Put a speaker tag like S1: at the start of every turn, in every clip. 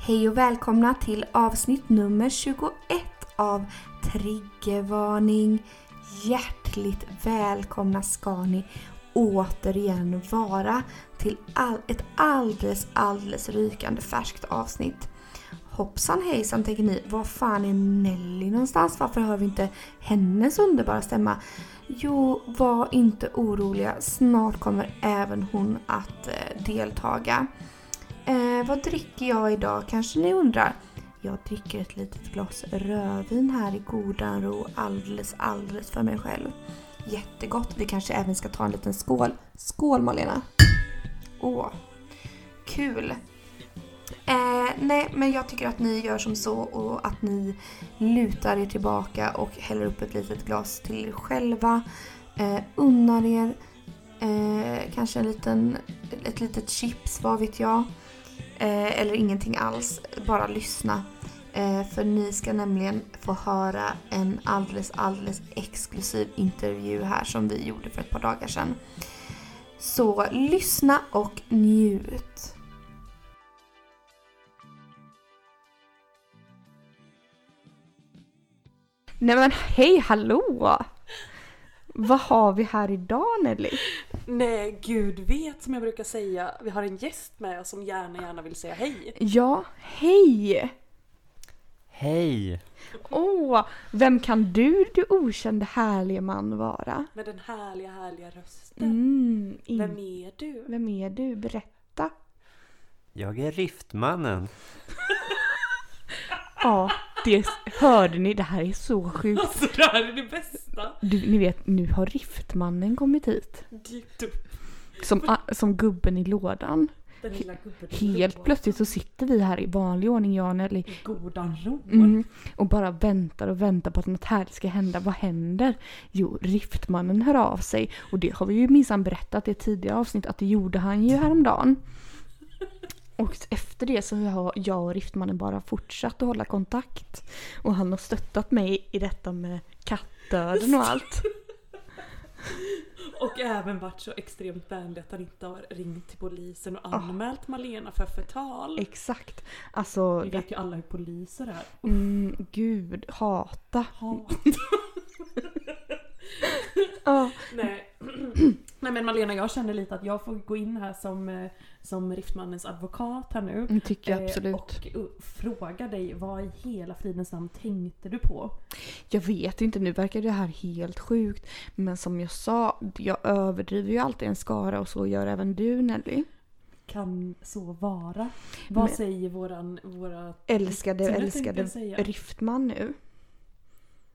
S1: Hej och välkomna till avsnitt nummer 21 av Triggervarning. Hjärtligt välkomna ska ni återigen vara till all, ett alldeles, alldeles rykande färskt avsnitt. Hoppsan hejsan tänker ni, var fan är Nelly någonstans? Varför hör vi inte hennes underbara stämma? Jo, var inte oroliga, snart kommer även hon att eh, deltaga. Eh, vad dricker jag idag kanske ni undrar? Jag dricker ett litet glas rödvin här i godan ro alldeles, alldeles för mig själv. Jättegott. Vi kanske även ska ta en liten skål. Skål Malena! Åh, kul! Eh, nej, men jag tycker att ni gör som så och att ni lutar er tillbaka och häller upp ett litet glas till er själva. Eh, unnar er eh, kanske en liten, ett litet chips, vad vet jag. Eh, eller ingenting alls, bara lyssna. Eh, för ni ska nämligen få höra en alldeles, alldeles exklusiv intervju här som vi gjorde för ett par dagar sedan. Så lyssna och njut! Nej men hej hallå! Vad har vi här idag Nelly?
S2: Nej, gud vet som jag brukar säga. Vi har en gäst med oss som gärna, gärna vill säga hej.
S1: Ja, hej!
S3: Hej!
S1: Åh, vem kan du, du okände härlige man vara?
S2: Med den härliga, härliga rösten.
S1: Mm, in-
S2: Vem är du?
S1: Vem är du? Berätta.
S3: Jag är Riftmannen.
S1: Ja, det hörde ni. Det här är så sjukt.
S2: Alltså det här är det bästa!
S1: Du, ni vet, nu har Riftmannen kommit hit.
S2: Dykt upp
S1: Som, a- som gubben i lådan.
S2: den lilla gubben.
S1: Helt plötsligt så sitter vi här i vanlig ordning, jag och Nelly.
S2: Godan ro.
S1: Mm, och bara väntar och väntar på att något härligt ska hända. Vad händer? Jo, Riftmannen hör av sig. Och det har vi ju minsann berättat i ett tidigare avsnitt att det gjorde han ju häromdagen. Och efter det så har jag och Riftmannen bara fortsatt att hålla kontakt. Och han har stöttat mig i detta med kattdöden och allt.
S2: Och även varit så extremt vänlig att han inte har ringt till polisen och anmält Malena för förtal.
S1: Exakt. Alltså,
S2: Vi vet ju alla hur poliser är.
S1: mm, gud, hata.
S2: Hat.
S1: Ja,
S2: Nej. Nej men Malena jag känner lite att jag får gå in här som, eh, som Riftmannens advokat här nu.
S1: det Mm, tycker jag
S2: Eh,
S1: absolut.
S2: Och uh, fråga dig, vad i hela fridens namn tänkte du på?
S1: Jag vet inte, nu verkar det här helt sjukt. Men som jag sa, jag överdriver ju alltid en skara och så gör även du Nelly.
S2: Kan så vara? Vad
S1: Men-
S2: säger våran... Våra...
S1: Älskade,
S2: Som jag
S1: älskade
S2: tänkte säga.
S1: Riftman nu.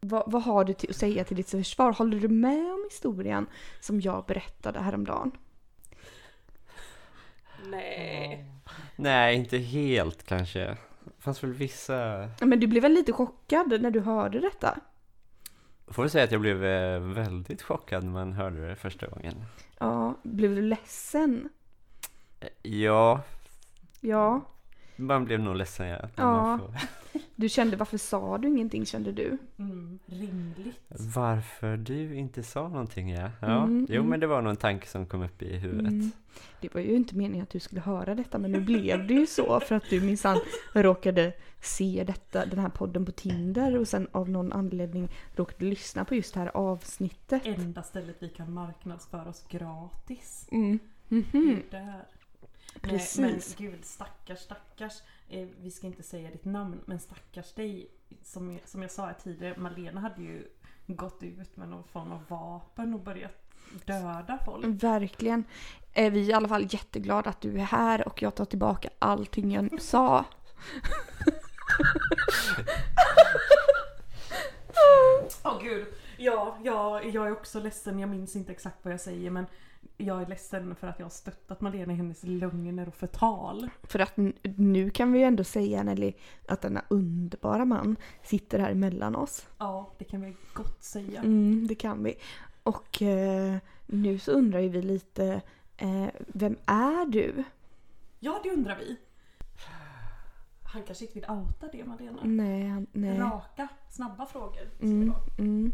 S1: Vad, vad har du till, att säga till ditt försvar? Håller du med om historien som jag berättade häromdagen?
S2: Nej.
S3: Nej, inte helt kanske. Det fanns väl vissa...
S1: Ja, Men du blev väl lite chockad när du hörde detta?
S3: Får väl säga att jag blev eh, väldigt chockad när man hörde det första gången.
S1: Ja, blev du ledsen?
S3: Eh, Ja,
S1: Ja.
S3: man blev nog ledsen. Ja. när
S1: Ja.
S3: man Får...
S1: Du kände, varför sa du ingenting kände du?
S2: Mm, rimligt.
S3: Varför du inte sa någonting ja. ja.
S1: Mm,
S3: jo,
S1: mm.
S3: men det var nog en tanke som kom upp i huvudet.
S1: Mm. Det var ju inte meningen att du skulle höra detta men nu blev det ju så för att du minsann råkade se detta, den här podden på Tinder och sen av någon anledning råkade lyssna på just det här avsnittet.
S2: Enda stället vi kan marknadsföra oss gratis.
S1: Mm. Mhm.
S2: Det här.
S1: Precis.
S2: Nej, men gud stackars stackars. Eh, vi ska inte säga ditt namn men stackars dig. Som, som jag sa här tidigare, Malena hade ju gått ut med någon form av vapen och börjat döda folk.
S1: Verkligen. Är vi i alla fall jätteglada att du är här och jag tar tillbaka allting jag sa.
S2: Åh gud. Ja, ja, jag är också ledsen. Jag minns inte exakt vad jag säger men jag är ledsen för att jag har stöttat Malena i hennes lögner och förtal.
S1: För att n- nu kan vi ju ändå säga Nelly att denna underbara man sitter här emellan oss.
S2: Ja, det kan vi gott säga.
S1: Mm, det kan vi. Och eh, nu så undrar ju vi lite, eh, vem är du?
S2: Ja, det undrar vi. Han kanske inte vill outa det Malena.
S1: Nej, han- nej.
S2: Raka, snabba frågor. ska det
S1: Mm,
S2: vara.
S1: mm.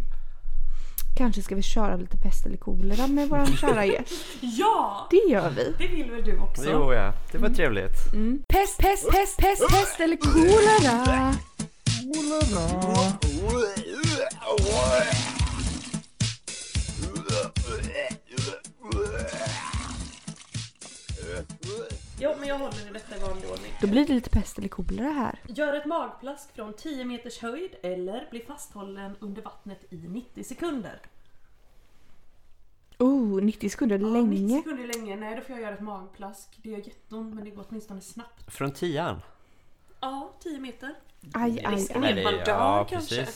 S1: Kanske ska vi köra lite pest eller kolera med våran kära gäst.
S2: Ja!
S1: Det gör vi.
S2: Det vill väl du också?
S3: Jo, ja. Det var trevligt.
S1: Mm. Pest, pest, pest, pest, pest eller kolera.
S2: Jo, men jag håller i detta i vanlig ordning.
S1: Då blir det lite pest eller kolera här.
S2: Gör ett magplask från 10 meters höjd eller bli fasthållen under vattnet i 90 sekunder.
S1: Oh, 90 sekunder
S2: Ja, 90
S1: länge.
S2: sekunder är länge. Nej, då får jag göra ett magplask. Det gör jätteont men det går åtminstone snabbt.
S3: Från tian?
S2: Ja, 10 meter.
S1: Aj, aj,
S2: Risken
S1: aj.
S2: är- man dör kanske.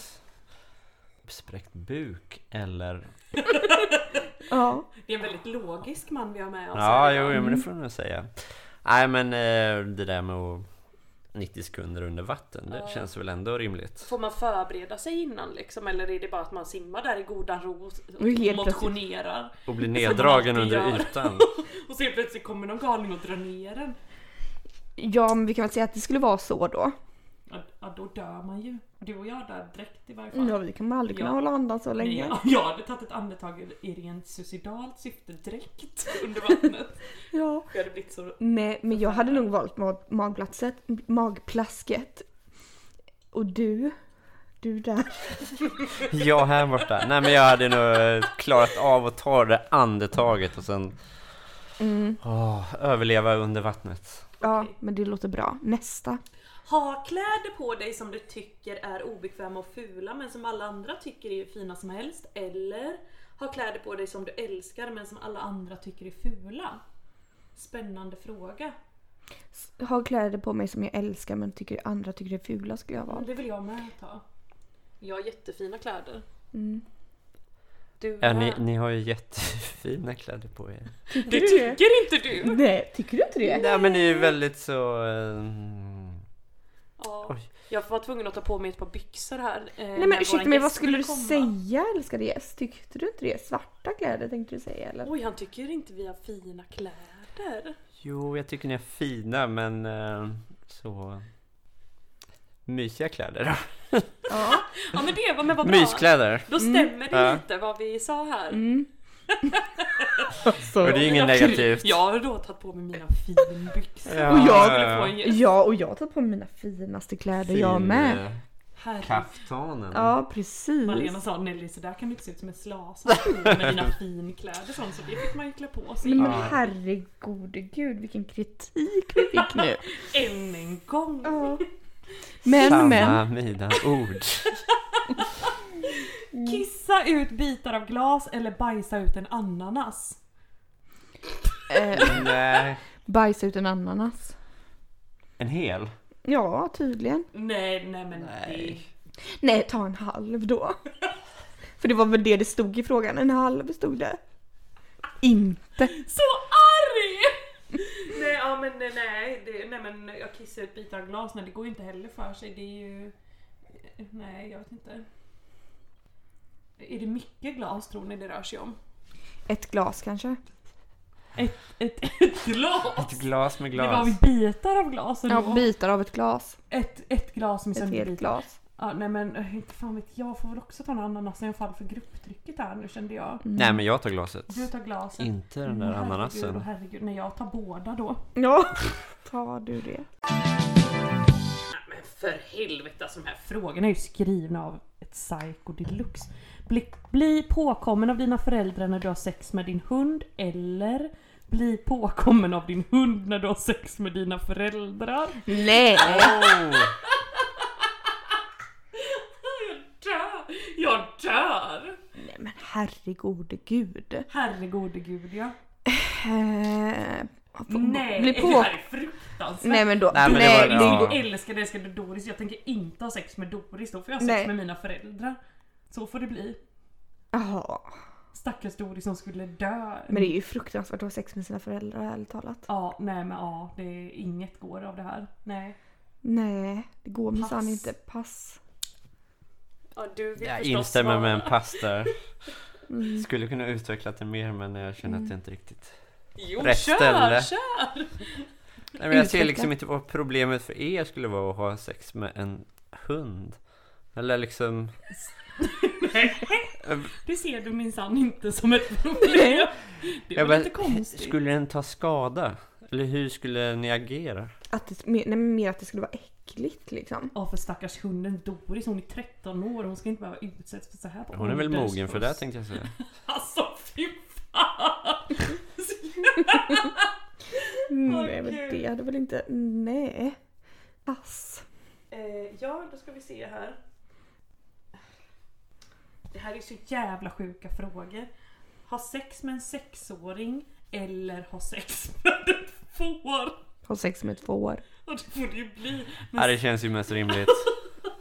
S3: Spräckt buk eller...
S1: Ja.
S2: Det är en väldigt logisk man vi har med oss.
S3: Ja,
S2: här
S3: jo,
S2: idag.
S3: jo, men det får du nog säga. Nej, men eh, det där med att 90 sekunder under vatten, det känns väl ändå rimligt.
S2: Får man förbereda sig innan liksom? Eller är det bara att man simmar där i godan ro och
S1: helt plötsligt-
S2: motionerar?
S3: Och bli
S2: man
S3: neddragen
S2: alltid
S3: under
S2: gör.
S3: ytan.
S2: Och så helt plötsligt kommer någon galning och drar ner en.
S1: ja, men vi kan väl säga att det skulle vara så då.
S2: Ja, ja, då dör man ju. Du och jag dör direkt i varje fall.
S1: Ja, vi kan väl aldrig kunna
S2: Ja.
S1: hålla andan så
S2: Nej,
S1: länge.
S2: ja, Jag hade tagit ett andetag i- i rent suicidalt syfte direkt under vattnet.
S1: Ja.
S2: Jag hade blivit så...
S1: Nej, men jag hade nog valt mag- magplatset, magplasket. Och du, du där.
S3: Ja, här borta. Nej, men jag hade nog eh, klarat av att ta det andetaget och sen
S1: Mm.
S3: åh, överleva under vattnet.
S1: Ja,
S2: Okej.
S1: men det låter bra. Nästa.
S2: Ha kläder på dig som du tycker är obekväma och fula men som alla andra tycker är fina som helst. Eller ha kläder på dig som du älskar men som alla andra tycker är fula. Spännande fråga.
S1: S- Ha kläder på mig som jag älskar men tycker andra tycker är fula skulle jag
S2: Men
S1: vara.
S2: det vill jag med ta. Jag har jättefina kläder.
S1: Mm.
S2: Du
S3: Ja, ni,
S2: med.
S3: ni har ju jättefina kläder på er.
S2: Det tycker inte du!
S1: Nej, tycker du inte det?
S3: Nej, men ni är ju väldigt så... eh,
S2: Ja,
S3: Oj.
S2: jag var tvungen att ta på mig ett par byxor här. eh,
S1: Nej
S2: när
S1: men ursäkta
S2: våran
S1: mig,
S2: gäst
S1: vad skulle du
S2: skulle komma.
S1: säga älskade gäst? Tyckte du inte det? Svarta kläder tänkte du säga eller?
S2: Oj, han tycker inte vi har fina kläder.
S3: Jo, jag tycker ni är fina, men eh, så... Mysiga kläder.
S1: Ja.
S2: Ja men det var, men vad bra.
S3: Myskläder. Mm.
S2: Då stämmer det
S3: Ja.
S2: lite vad vi sa här.
S1: Mm.
S3: Och
S2: Alltså.
S3: det är ju inget negativt.
S2: Jag har då tagit på mig mina finbyxor.
S3: Ja,
S1: Och jag
S2: Skulle få en gäst.
S1: Ja och jag har tagit på mig mina finaste kläder jag med.
S2: Herre,
S3: eh, Kaftanen.
S1: Ja precis.
S2: Malena sa Nelly sådär kan du inte se ut som en slasa med dina finkläder och sånt så det fick man ju klä på sig.
S1: Nej, men
S3: Ja.
S1: herregode gud vilken kritik vi fick nu.
S2: Än en gång!
S1: Ja. Men
S3: Sanna
S1: men.
S3: mina ord.
S2: Mm. Kissa ut bitar av glas eller bajsa ut en ananas.
S1: Eh,
S3: Nej.
S1: bajsa ut en ananas.
S3: En hel?
S1: Ja tydligen.
S2: Nej, nej men
S3: Nej.
S1: Nej ta en halv då. För det var väl det det stod i frågan, en halv stod det. Inte.
S2: det... Så arg! nej, ja men nej, nej, det, nej men jag kissar ut bitar av glas, nej det går ju inte heller för sig. Det är ju... eh, Nej, jag vet inte. Är det mycket glas tror ni det rör sig om?
S1: Ett glas kanske.
S2: Ett, ett glas?
S3: Ett glas med
S2: Det var
S3: glas.
S2: vi bitar av glas eller
S1: Ja,
S2: vad?
S1: bitar av ett glas.
S2: ett, ett glas med
S1: Ett helt
S2: sönderbitar.
S1: glas.
S2: Ja, nej men eh, inte fan vet jag, får väl också ta en ananas i alla fall för grupptrycket här nu kände jag.
S3: Nej, men jag tar glaset.
S2: Du tar glaset.
S3: Inte den där
S2: Herregud,
S3: ananasen.
S2: herregud, nej jag tar båda då.
S1: Ja, tar du det?
S2: Nej men för helvete, alltså de här frågorna är ju skrivna av ett psycho deluxe. Bli, bli påkommen av dina föräldrar när du har sex med din hund eller bli påkommen av din hund när du har sex med dina föräldrar.
S1: Nej!
S3: Oh,
S2: Jag dör! Jag dör!
S1: Nej men herregode gud.
S2: Herregode gud ja.
S1: Eh,
S2: Nej,
S1: Bli
S2: det
S1: på...
S2: här är fruktansvärt.
S1: Nej men då.
S3: Nej, men det
S1: nej,
S3: var- ja.
S2: Jag älskar det, älskar Doris. Jag tänker inte ha sex med Doris, då får jag ha sex
S1: Nej.
S2: med mina föräldrar. Så får det bli.
S1: Jaha.
S2: Stackars Doris som skulle dö.
S1: Men det är ju fruktansvärt att ha sex med sina föräldrar ärligt talat.
S2: Ja, nej men ja, det är inget går av det här. Nej.
S1: Nej, det går minsann
S2: Pass.
S1: inte. Pass.
S2: Ja, du vill
S3: jag instämmer med en pass där.
S2: Mm.
S1: Mm.
S3: Skulle kunna utveckla det mer, men jag känner
S2: Mm.
S3: att jag inte riktigt...
S2: Jo,
S3: Rätt
S2: kör,
S3: ställe.
S2: kör!
S3: Nej, men jag ser
S1: Utveckla.
S3: liksom inte vad problemet för er skulle vara att ha sex med en hund. Eller liksom...
S2: Du ser du minsann inte som ett problem. Det är
S3: Jag
S2: väl
S3: bara,
S2: lite konstigt.
S3: Skulle den ta skada? Eller hur skulle ni agera?
S1: Att det, mer, nej, men mer att det skulle vara äckligt liksom.
S2: Ja för stackars hunden Doris, hon är 13 år hon ska inte behöva utsättas för så här på
S3: Hon är väl
S2: åldersfrost.
S3: mogen för det tänkte jag säga.
S2: Alltså fy fan! Åh,
S1: Mm, Nej men
S2: gud.
S1: det hade väl inte... Nej. Ass.
S2: Eh, ja, då ska vi se här. Det här är så jävla sjuka frågor. Ha sex med en sexåring eller ha sex med ett får?
S1: Ha sex med två år.
S2: Och det får det ju bli.
S3: Ja, det känns ju mest rimligt.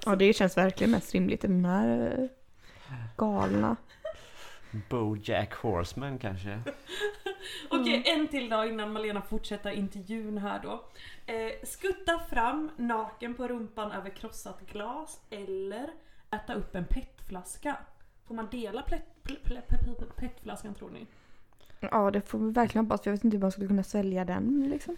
S1: Ja det känns verkligen mest rimligt i den här eh, galna.
S3: Bojack Horseman kanske?
S2: Okej, en till dag innan Malena fortsätter intervjun här då. Eh, skutta fram naken på rumpan över krossat glas eller äta upp en petflaska. Får man dela plet- pl- pl- pl- pl- petflaskan tror ni?
S1: Ja det får vi verkligen hoppas för jag vet inte hur man skulle kunna svälja den liksom.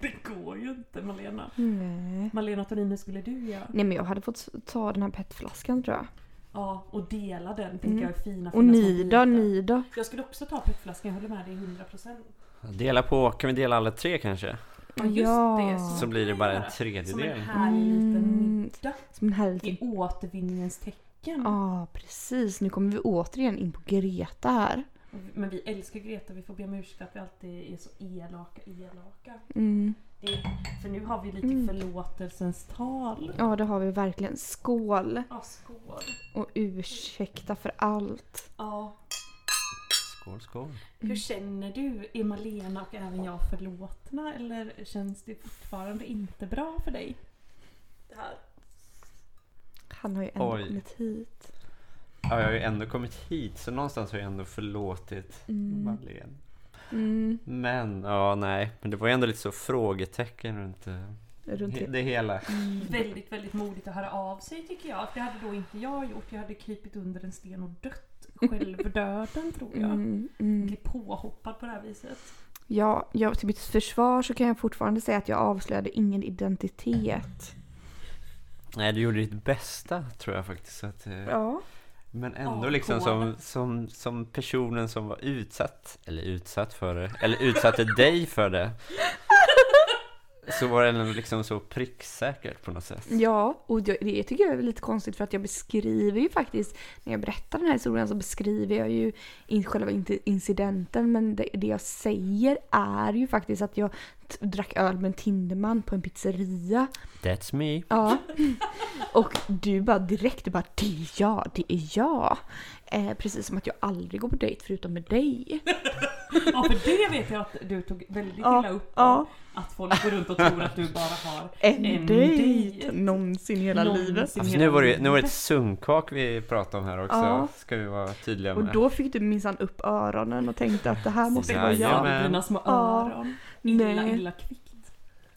S2: det går ju inte Malena.
S1: Nej.
S2: Malena Torin, hur skulle du göra?
S1: Nej men jag hade fått ta den här petflaskan tror jag.
S2: Ja, och dela den tänker jag är fina
S1: Mm. Och
S2: fina små
S1: ni då,
S2: bitar.
S1: ni då?
S2: Jag skulle också ta petflaskan, jag håller med dig 100%.
S3: Dela på, kan vi dela alla tre kanske?
S2: Ja, just
S1: Ja.
S2: det.
S3: Så blir det bara en
S2: Som en
S3: tredjedel.
S2: härlig liten
S1: Mm.
S2: middag.
S1: Som en här liten...
S2: I återvinningens tecken.
S1: Ja precis, nu kommer vi återigen in på Greta här.
S2: Men vi älskar Greta, vi får be om ursäkt att vi alltid är så elaka, elaka.
S1: Mm.
S2: Det är, för nu har vi lite förlåtelsens tal.
S1: Ja det har vi verkligen. Skål!
S2: Ja, skål.
S1: Och ursäkta för allt.
S2: Ja.
S3: Skål, skål.
S1: Mm.
S2: Hur känner du? Är Malena och även jag förlåtna eller känns det fortfarande inte bra för dig? Det här.
S1: Han har ju ändå
S3: Oj.
S1: kommit hit.
S3: Ja, jag har ju ändå kommit hit så någonstans har jag ändå förlåtit Madeleine.
S1: Mm.
S3: Men, ja nej. Men det var ju ändå lite så frågetecken runt eh,
S1: Runt Mm.
S3: he-
S1: i-
S3: det hela.
S2: Väldigt, väldigt modigt att höra av sig tycker jag. Det hade då inte jag gjort. Jag hade krypit under en sten och dött. Självdöden tror jag.
S1: Mm, mm.
S2: Bli påhoppad på det här viset.
S1: Ja, jag, till mitt försvar så kan jag fortfarande säga att jag avslöjade ingen identitet.
S3: Mm. Nej, du gjorde ditt bästa tror jag faktiskt. Så att, eh,
S1: Ja.
S3: Men ändå
S2: Ja,
S3: liksom som,
S2: koden.
S3: som, som personen som var utsatt, eller utsatt för det, eller utsatte dig för det. Så var det ändå liksom så pricksäkert på något sätt.
S1: Ja, och det, det tycker jag är lite konstigt för att jag beskriver ju faktiskt, när jag berättar den här historien så beskriver jag ju inte själva inte incidenten men det, det jag säger är ju faktiskt att jag t- drack öl med en Tinderman på en pizzeria.
S3: That's me.
S1: Ja. Och du bara direkt, du bara det är jag, det är jag. Eh, precis som att jag aldrig går på dejt förutom med dig.
S2: Ja för det vet jag att du tog väldigt
S1: Ja,
S2: illa upp
S1: ja.
S2: av. Att folk går runt och tror att du bara har
S1: En,
S2: En
S1: dejt!
S2: dejt.
S1: Någonsin i hela
S2: någonsin
S1: livet.
S3: Alltså,
S2: hela
S3: nu, var det, nu var det ett
S2: livet.
S3: sunkak vi pratade om här också,
S1: Ja.
S3: ska vi vara tydliga
S1: Och
S3: med.
S1: då fick du minsann upp öronen och tänkte att det här måste vara jag.
S3: Jajamän.
S2: Dina små
S1: Ja.
S2: öron. Illa,
S1: Nej.
S2: illa kvickt.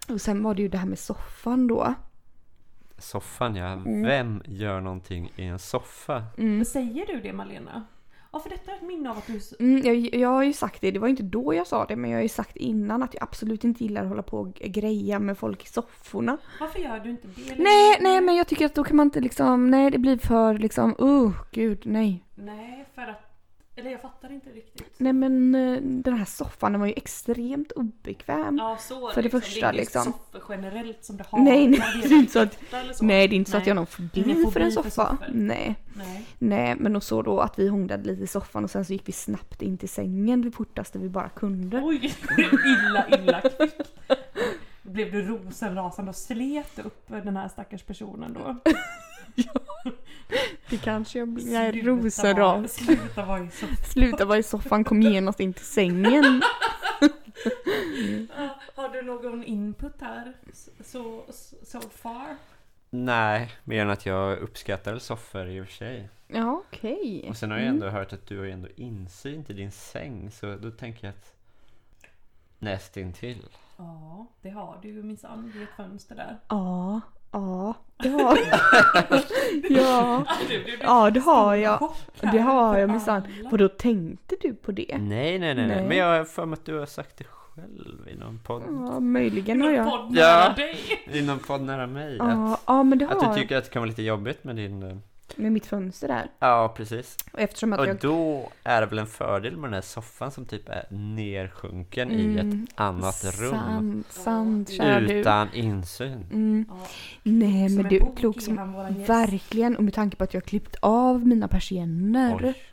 S1: Och sen var det ju det här med soffan då.
S3: Soffan ja,
S1: Mm.
S3: vem gör någonting i en soffa?
S1: Alltså,
S2: Men säger du det Malena? Ja för detta är ett minne av att du... s-
S1: Mm, jag, jag har ju sagt det, det var ju inte då jag sa det men jag har ju sagt innan att jag absolut inte gillar att hålla på och greja med folk i sofforna.
S2: Varför gör du inte det?
S1: Nej, nej men jag tycker att då kan man inte liksom, nej det blir för liksom, uh, gud nej.
S2: Nej för att... Eller jag fattar inte riktigt.
S1: Nej men eh, den här soffan den var ju extremt obekväm.
S2: Ja så
S1: Mm. För det
S2: liksom.
S1: första,
S2: det är
S1: liksom.
S2: soffor generellt som du har.
S1: nej nej,
S2: Kan
S1: det är inte så att,
S2: rikta eller så.
S1: nej det är inte så att
S2: Nej.
S1: jag har någon fobi
S2: Ingen
S1: för
S2: fobi
S1: en
S2: för
S1: soffa.
S2: soffor.
S1: nej.
S2: Nej.
S1: Nej men och så då att vi hånglade lite i soffan och sen så gick vi snabbt in till sängen det fortaste vi bara kunde.
S2: Oj, illa, illa kvickt. Blev du rosenrasande och slet upp den här stackars personen då?
S1: Det kanske jag blev.
S2: Sluta
S1: Nej
S2: vara-
S1: rosenras.
S2: Sluta vara i så...
S1: Sluta vara i soffan, kom genast in till sängen.
S2: Ja, Har du någon input här? So, so, so far?
S3: Nej, mer än att jag uppskattar väl soffor i och för sig.
S1: Ja okej.
S3: Och sen har jag
S1: Mm.
S3: ändå hört att du har ju ändå insyn till din säng, så då tänker jag att nästintill.
S2: Ja, det har du ju minsann vid ett fönster där.
S1: Ja, ja, det har Ja,
S2: Du, du, du.
S1: ja det har jag.
S2: Chock här
S1: Det har
S2: för
S1: jag minsann.
S2: alla.
S1: Vadå tänkte du på det?
S3: Nej, nej, nej, nej.
S1: Nej.
S3: Men jag har för mig att du har sagt det själv. själv i någon podd?
S1: Ja, möjligen har
S2: Någon
S1: jag.
S2: podd
S3: Ja.
S2: nära dig.
S3: I någon podd nära mig?
S1: Ja,
S3: Att,
S1: ja, men det har
S3: att du
S1: jag.
S3: tycker att det kan vara lite jobbigt med din... eh,
S1: Med mitt fönster där.
S3: Ja, precis.
S1: Och eftersom att
S3: Och
S1: jag...
S3: då är det väl en fördel med den här soffan som typ är nersjunken i ett
S1: Mm,
S3: annat rum.
S1: Sant, sant, kära du.
S3: Utan insyn.
S1: Mm.
S2: Ja,
S1: Nej,
S2: som
S1: men
S2: en
S1: du är
S2: bok
S1: klok som...
S2: innan våran gäst.
S1: Verkligen, och med tanke på att jag har klippt av mina persienner
S3: Oj.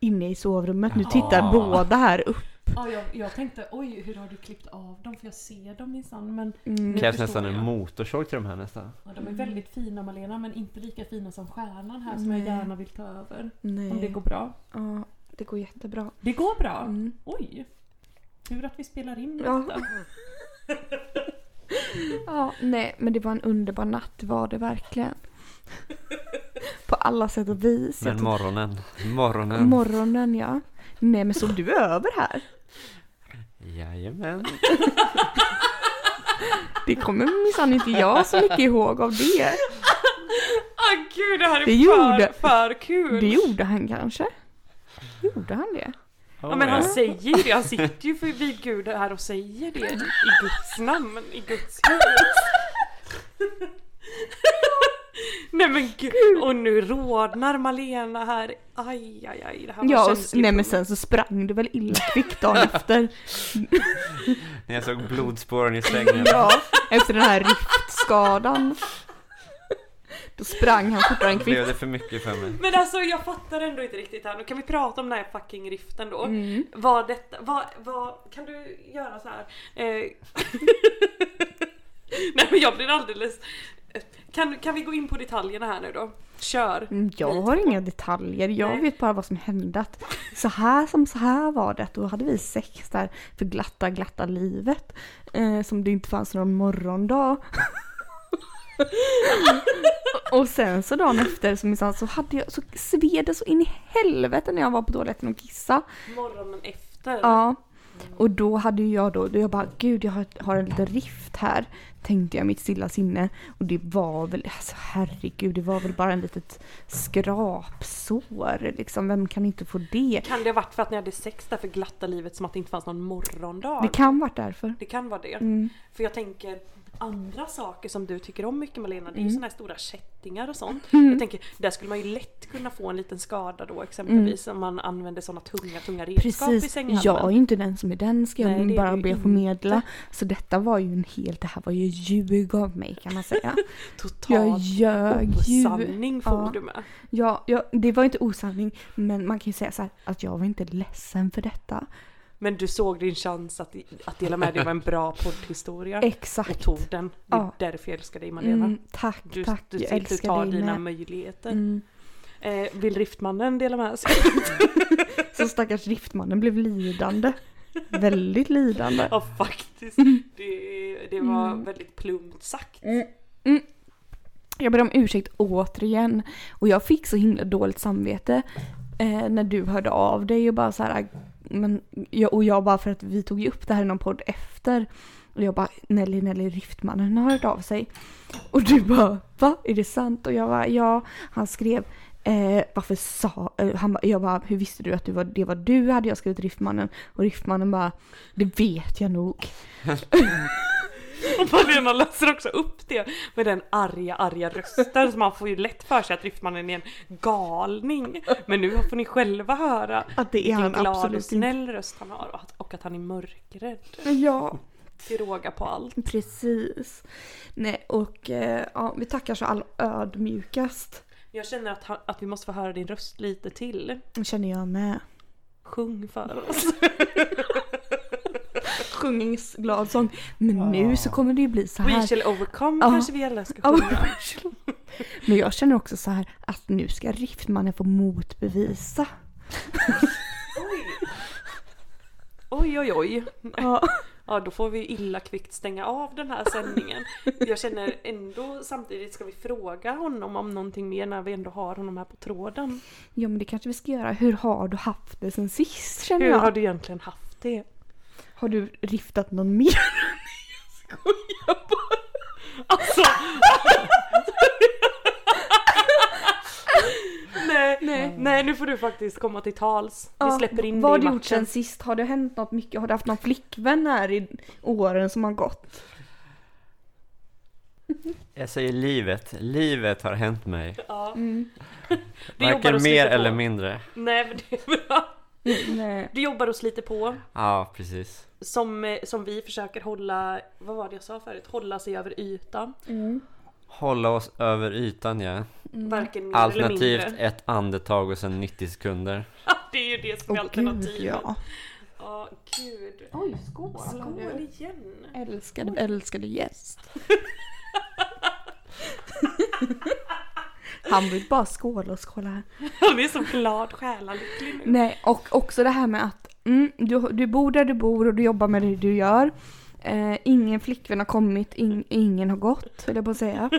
S1: inne i sovrummet. Nu
S3: Jaha.
S1: tittar båda här upp.
S2: Ja, jag, jag tänkte oj hur har du klippt av dem för jag ser dem minsann men
S1: Mm.
S2: Nu
S3: Krävs
S2: förstår
S3: nästan en
S2: jag.
S3: motorsåg till de här nästan.
S2: ja, de är väldigt fina Malena men inte lika fina som stjärnan här som
S1: Nej.
S2: jag gärna vill ta över.
S1: Nej.
S2: Om det går bra.
S1: Ja, det går jättebra.
S2: Det går bra!
S1: Mm.
S2: Oj! Tur att vi spelar in
S1: Ja.
S2: detta.
S1: Ja, nej, men det var en underbar natt var det verkligen. På alla sätt och vis. Jag
S3: Men morgonen. Morgonen.
S1: Morgonen ja. Nej men såg du över här?
S3: Jajamän.
S1: Det kommer minsann inte jag så mycket ihåg av det.
S2: Ah gud det här är
S1: Det gjorde-
S2: för kul!
S1: Det gjorde han kanske? Gjorde han det?
S2: Ja men han säger ju det, han sitter ju för- vid Gud här och säger det i Guds namn, i Guds hus. Nej men gud, och nu rodnar Malena här. Aj aj aj, det här var
S1: Ja, och,
S2: känsligt.
S1: nej men sen så sprang du väl illa kvickt dagen efter.
S3: När jag såg blodspåren i sängen.
S1: Ja, efter den här riftskadan. Då sprang han fortare än kvickt.
S3: Blev det för mycket för mig?
S2: Men alltså jag fattar ändå inte riktigt här, nu kan vi prata om den här fucking riften då.
S1: Mm.
S2: Vad detta, vad, vad, kan du göra så här? Eh, Nej men jag blir alldeles... Kan, kan vi gå in på detaljerna här nu då? Kör!
S1: Mm, Jag har inga detaljer, jag
S2: Nej.
S1: vet bara vad som hände. Att så här som så här var det, då hade vi sex där för glatta glatta livet. Eh, som det inte fanns någon morgondag. och sen så dagen efter så, minsann så, hade jag, så sved det så in i helvete när jag var på toaletten och kissa.
S2: Morgonen efter.
S1: Ja. Och då hade ju jag då, då jag bara gud jag har, har en liten rift här. Tänkte jag i mitt stilla sinne. Och det var väl, alltså herregud det var väl bara en litet skrapsår liksom. Vem kan inte få det?
S2: Kan det ha varit för att ni hade sex där för glatta livet som att det inte fanns någon morgondag?
S1: Det kan varit därför.
S2: Det kan vara det.
S1: Mm.
S2: För jag tänker andra saker som du tycker om mycket Malena, det
S1: Mm.
S2: är ju såna här stora kättingar och sånt. Jag tänker, där skulle man ju lätt kunna få en liten skada då exempelvis om man använder sådana tunga, tunga redskap i
S1: Mm. Precis,
S2: sänghalmen.
S1: jag är ju inte den som är den ska jag
S2: Nej, det är
S1: bara
S2: du
S1: be att få
S2: inte.
S1: medla. Så detta var ju en helt, det här var ju ljug av mig kan man säga. Jag
S2: Totalt
S1: ljög ju.
S2: osanning får
S1: Ja.
S2: du med.
S1: Ja, ja, det var inte osanning men man kan ju säga så här att jag var inte ledsen för detta.
S2: Men du såg din chans att, att dela med dig av en bra poddhistoria
S1: Exakt.
S2: och tog den. Det är
S1: Ja.
S2: därför jag älskar dig Malena.
S1: Mm, tack,
S2: Du,
S1: tack. jag
S2: du, du, du tar
S1: älskar dig
S2: dina
S1: med.
S2: möjligheter.
S1: Mm.
S2: Eh, vill riftmannen dela med sig?
S1: Så stackars driftmannen blev lidande. Väldigt lidande.
S2: ja faktiskt. Det, det var
S1: Mm.
S2: väldigt plumpt sagt.
S1: Jag ber om ursäkt återigen. Och jag fick så himla dåligt samvete eh, när du hörde av dig och bara så här, men, jag, och jag bara för att vi tog ju upp det här i någon podd efter. Och jag bara Nelly, Nelly, Riftmannen har hört av sig. Och du bara va? Är det sant? Och jag bara ja. Han skrev eh, varför sa, eh, han bara, jag bara hur visste du att du var, det var du? Hade jag skrivit Riftmannen? Och Riftmannen bara det vet jag nog.
S2: Och Malena läser också upp det med den arga, arga rösten så man får ju lätt för sig att riftmannen är en galning. Men nu får ni själva höra
S1: Att det är
S2: vilken
S1: han
S2: glad och
S1: absolut inte.
S2: snäll röst han har och att, och att han är mörkrädd.
S1: Ja.
S2: Till råga på allt.
S1: Precis. Nej, och eh, ja, vi tackar så all ödmjukast.
S2: Jag känner att, han- att vi måste få höra din röst lite till.
S1: känner jag med.
S2: Sjung för oss.
S1: Sjung en glad sång. Men nu så kommer det ju bli så
S2: We
S1: här.
S2: shall overcome
S1: Ja.
S2: kanske vi alla ska
S1: Ja,
S2: sjunga.
S1: Men jag känner också så här att nu ska Riftmannen få motbevisa.
S2: Oj oj oj.
S1: Ja.
S2: Ja då får vi illa kvickt stänga av den här sändningen. Jag känner ändå samtidigt ska vi fråga honom om någonting mer när vi ändå har honom här på tråden.
S1: ja, men det kanske vi ska göra. Hur har du haft det sen sist känner
S2: Hur
S1: jag?
S2: har du egentligen haft det?
S1: Har du riftat någon mer?
S2: Alltså! nej, nej. nej, nu får du faktiskt komma till tals. Vi
S1: Ja,
S2: släpper in
S1: Vad har
S2: dig
S1: du
S2: i
S1: gjort sen
S2: matchen.
S1: sist? Har det hänt något mycket? Har du haft någon flickvän här i åren som har gått?
S3: Jag säger livet. Livet har hänt mig.
S2: Ja,
S1: Mm.
S2: du jobbar och
S3: Varken mer
S2: sliter på.
S3: eller mindre.
S2: Nej men det är bra.
S1: Nej.
S2: Du jobbar och sliter på.
S3: Ja, precis.
S2: Som, eh, som vi försöker hålla, vad var det jag sa förut? Hålla sig över ytan.
S1: Mm.
S3: Hålla oss över ytan ja.
S2: Varken mer eller
S3: Alternativt
S2: mindre.
S3: ett andetag och sen 90 sekunder.
S2: Det är ju det som är
S1: Åh
S2: alternativet.
S1: gud ja.
S2: Ja, gud.
S1: Oj, skål!
S2: Skål igen!
S1: Älskade, älskade gäst. Han vill bara skåla och skåla.
S2: Han är så glad själalycklig nu.
S1: Nej, och också det här med att mm, du, du bor där du bor och du jobbar med det du gör. Eh, ingen flickvän har kommit, in, ingen har gått, höll jag på att säga.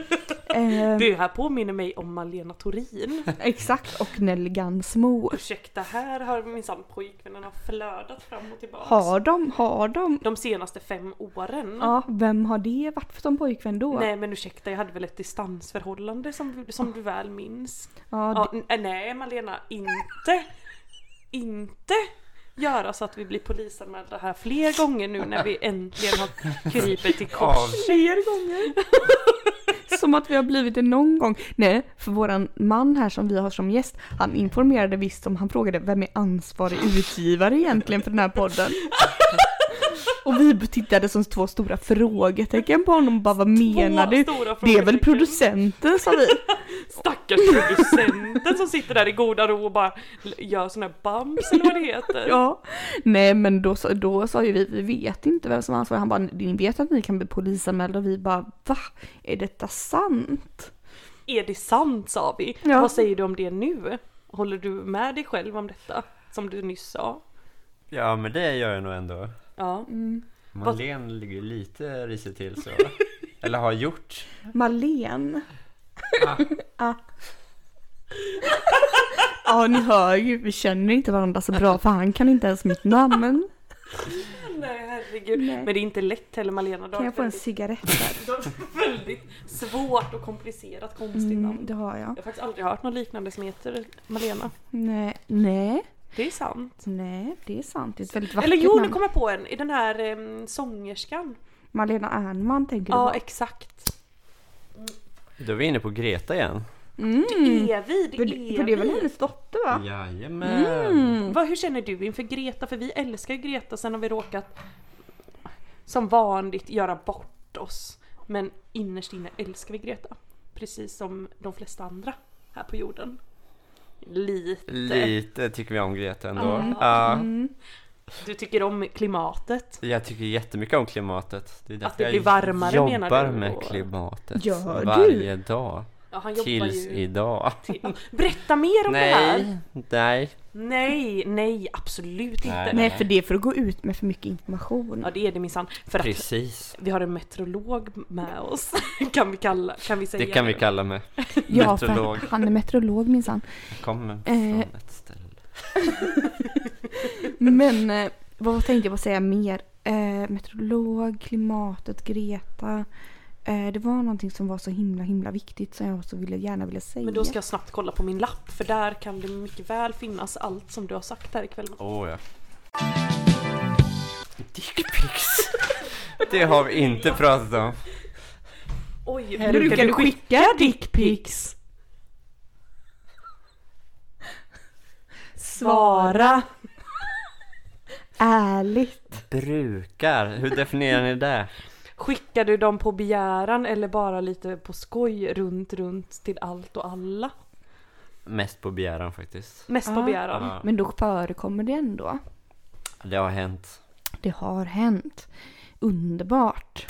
S1: Eh,
S2: Det här påminner mig om Malena Torin.
S1: Exakt, och Nelly Gansmo.
S2: Ursäkta, här har minsann pojkvännerna flödat fram och tillbaks.
S1: Har de, har de?
S2: De senaste fem åren.
S1: Ja, vem har det varit för som pojkvän då?
S2: Nej men ursäkta, jag hade väl ett distansförhållande som, som du väl minns.
S1: Ja,
S2: Ja, n- nej Malena, inte. Inte göra så att vi blir polisanmälda här fler gånger nu när vi äntligen har krypit till kors.
S1: Fler gånger. som att vi har blivit det någon gång. Nej, för våran man här som vi har som gäst, han informerade visst om, han frågade vem är ansvarig utgivare egentligen för den här podden? Och vi tittade som två stora frågetecken på honom och bara vad menar
S2: Två
S1: du?
S2: stora
S1: Det är väl
S2: frågetecken.
S1: producenten sa vi.
S2: Stackars producenten som sitter där i goda ro och bara l- gör såna här bumps eller vad det heter.
S1: Ja. Nej men då, sa- då sa ju vi, vi vet inte vem som är ansvarig. Han bara, ni vet att ni kan bli polisanmälda och vi bara, va? Är detta sant?
S2: Är det sant sa vi?
S1: Ja.
S2: Vad säger du om det nu? Håller du med dig själv om detta? Som du nyss sa?
S3: Ja, men det gör jag nog ändå.
S2: Ja.
S1: Mm.
S3: Malene ligger ju lite risigt till så. Eller har gjort.
S1: Malen.
S3: Ah.
S1: Ah. Ja, ni hör ju, vi känner inte varandra så bra för han kan inte ens mitt namn.
S2: Nej herregud.
S1: Nej.
S2: Men det är inte lätt heller Malena. Du har
S1: Kan jag
S2: ett
S1: få en
S2: väldigt-
S1: cigarett där?
S2: du har ett väldigt svårt och komplicerat konstigt
S1: Mm,
S2: namn.
S1: det har jag.
S2: Jag har faktiskt aldrig hört något liknande som heter Malena.
S1: Nej, nej,
S2: Det är sant.
S1: nej, det är sant. Det är ett väldigt vackert
S2: Eller jo, nu
S1: namn.
S2: kommer jag på en. I den här em, sångerskan.
S1: Malena Ernman tänker
S2: Ja,
S1: du på?
S2: exakt.
S3: Då är vi inne på Greta igen.
S1: Mm.
S2: Evid,
S1: För, det- för det är väl hennes dotter va?
S3: Jajamän.
S2: Vad, hur känner du inför Greta? För vi älskar ju Greta, sen har vi råkat som vanligt göra bort oss. Men innerst inne älskar vi Greta. Precis som de flesta andra här på jorden. Lite.
S3: Lite tycker vi om Greta ändå.
S2: Mm.
S3: Ja,
S1: Mm.
S2: Du tycker om klimatet.
S3: jag tycker jättemycket om klimatet. Det är därför
S2: det
S3: jag
S2: blir varmare,
S3: jobbar
S2: menar du,
S3: med
S2: och-
S3: klimatet
S1: Gör du?
S3: varje dag.
S2: Ja, han jobbar
S3: Tills
S2: ju...
S3: idag.
S2: till- Berätta mer om det här!
S3: Nej, nej.
S2: Nej, nej, absolut
S3: Nej.
S2: inte.
S1: Nej, för det är för att gå ut med för mycket information.
S2: Ja, det är det minsann. För att
S3: Precis.
S2: vi har en meteorolog med oss. Kan vi, kalla, kan vi säga
S3: Det kan vi
S2: nu?
S3: kalla mig.
S1: Ja, för
S3: Meteorolog.
S1: att han är meteorolog minsann.
S3: Kommer
S1: Eh.
S3: från ett ställe.
S1: Men eh, vad tänkte jag på att säga mer? Eh, meteorolog, klimatet, Greta. Eh, det var någonting som var så himla himla viktigt som jag också ville, gärna ville säga.
S2: Men då ska jag snabbt kolla på min lapp för där kan det mycket väl finnas allt som du har sagt här ikväll.
S3: Åh ja. Dickpics. Det har vi inte pratat om.
S2: Oj,
S1: Brukar du skicka dickpics?
S2: svara?
S1: Ärligt.
S3: Brukar. Hur definierar ni det?
S2: Skickar du dem på begäran eller bara lite på skoj runt runt till allt och alla?
S3: Mest på begäran faktiskt.
S2: Mest på
S1: Ah.
S2: begäran.
S1: Men då förekommer det ändå.
S3: Det har hänt.
S1: Det har hänt. Underbart.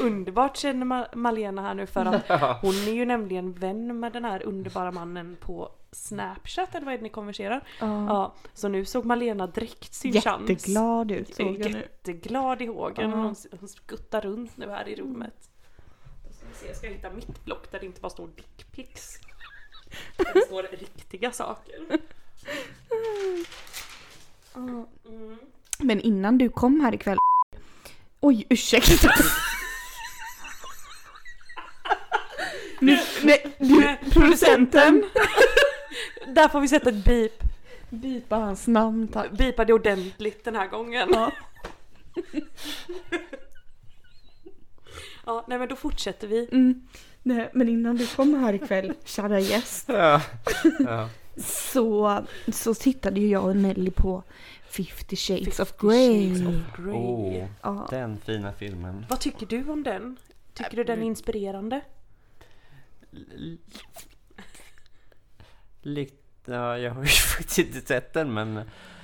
S2: Underbart känner Ma- Malena här nu för att hon är ju nämligen vän med den här underbara mannen på Snapchat eller vad är det ni konverserar?
S1: Ja.
S2: Ja, så nu såg Malena direkt sin chans.
S1: Jätteglad ut såg jag nu.
S2: jätteglad i hågen.
S1: Ja.
S2: Hon, hon skuttar runt nu här i rummet. Då ska vi se, jag ska hitta mitt block där det inte bara står dickpics. Där det står riktiga saker.
S1: Ja.
S2: Mm.
S1: Men innan du kom här ikväll. Oj, ursäkta. nu, nej, du, producenten.
S2: där får vi sätta ett beep.
S4: Bipa hans namn tack.
S2: Beepa det ordentligt den här gången.
S4: Ja.
S2: Ja, nej men då fortsätter vi.
S1: Mm. Nej, men innan du kom här ikväll, kära gäst,
S3: Ja. Ja.
S1: så, så tittade ju jag och Nelly på 50 shades of grey.
S2: Shades of Grey.
S3: Åh,
S1: Ja.
S3: den fina filmen.
S2: Vad tycker du om den? Tycker du den är inspirerande?
S3: Likt, ja, jag har ju faktiskt inte sett den men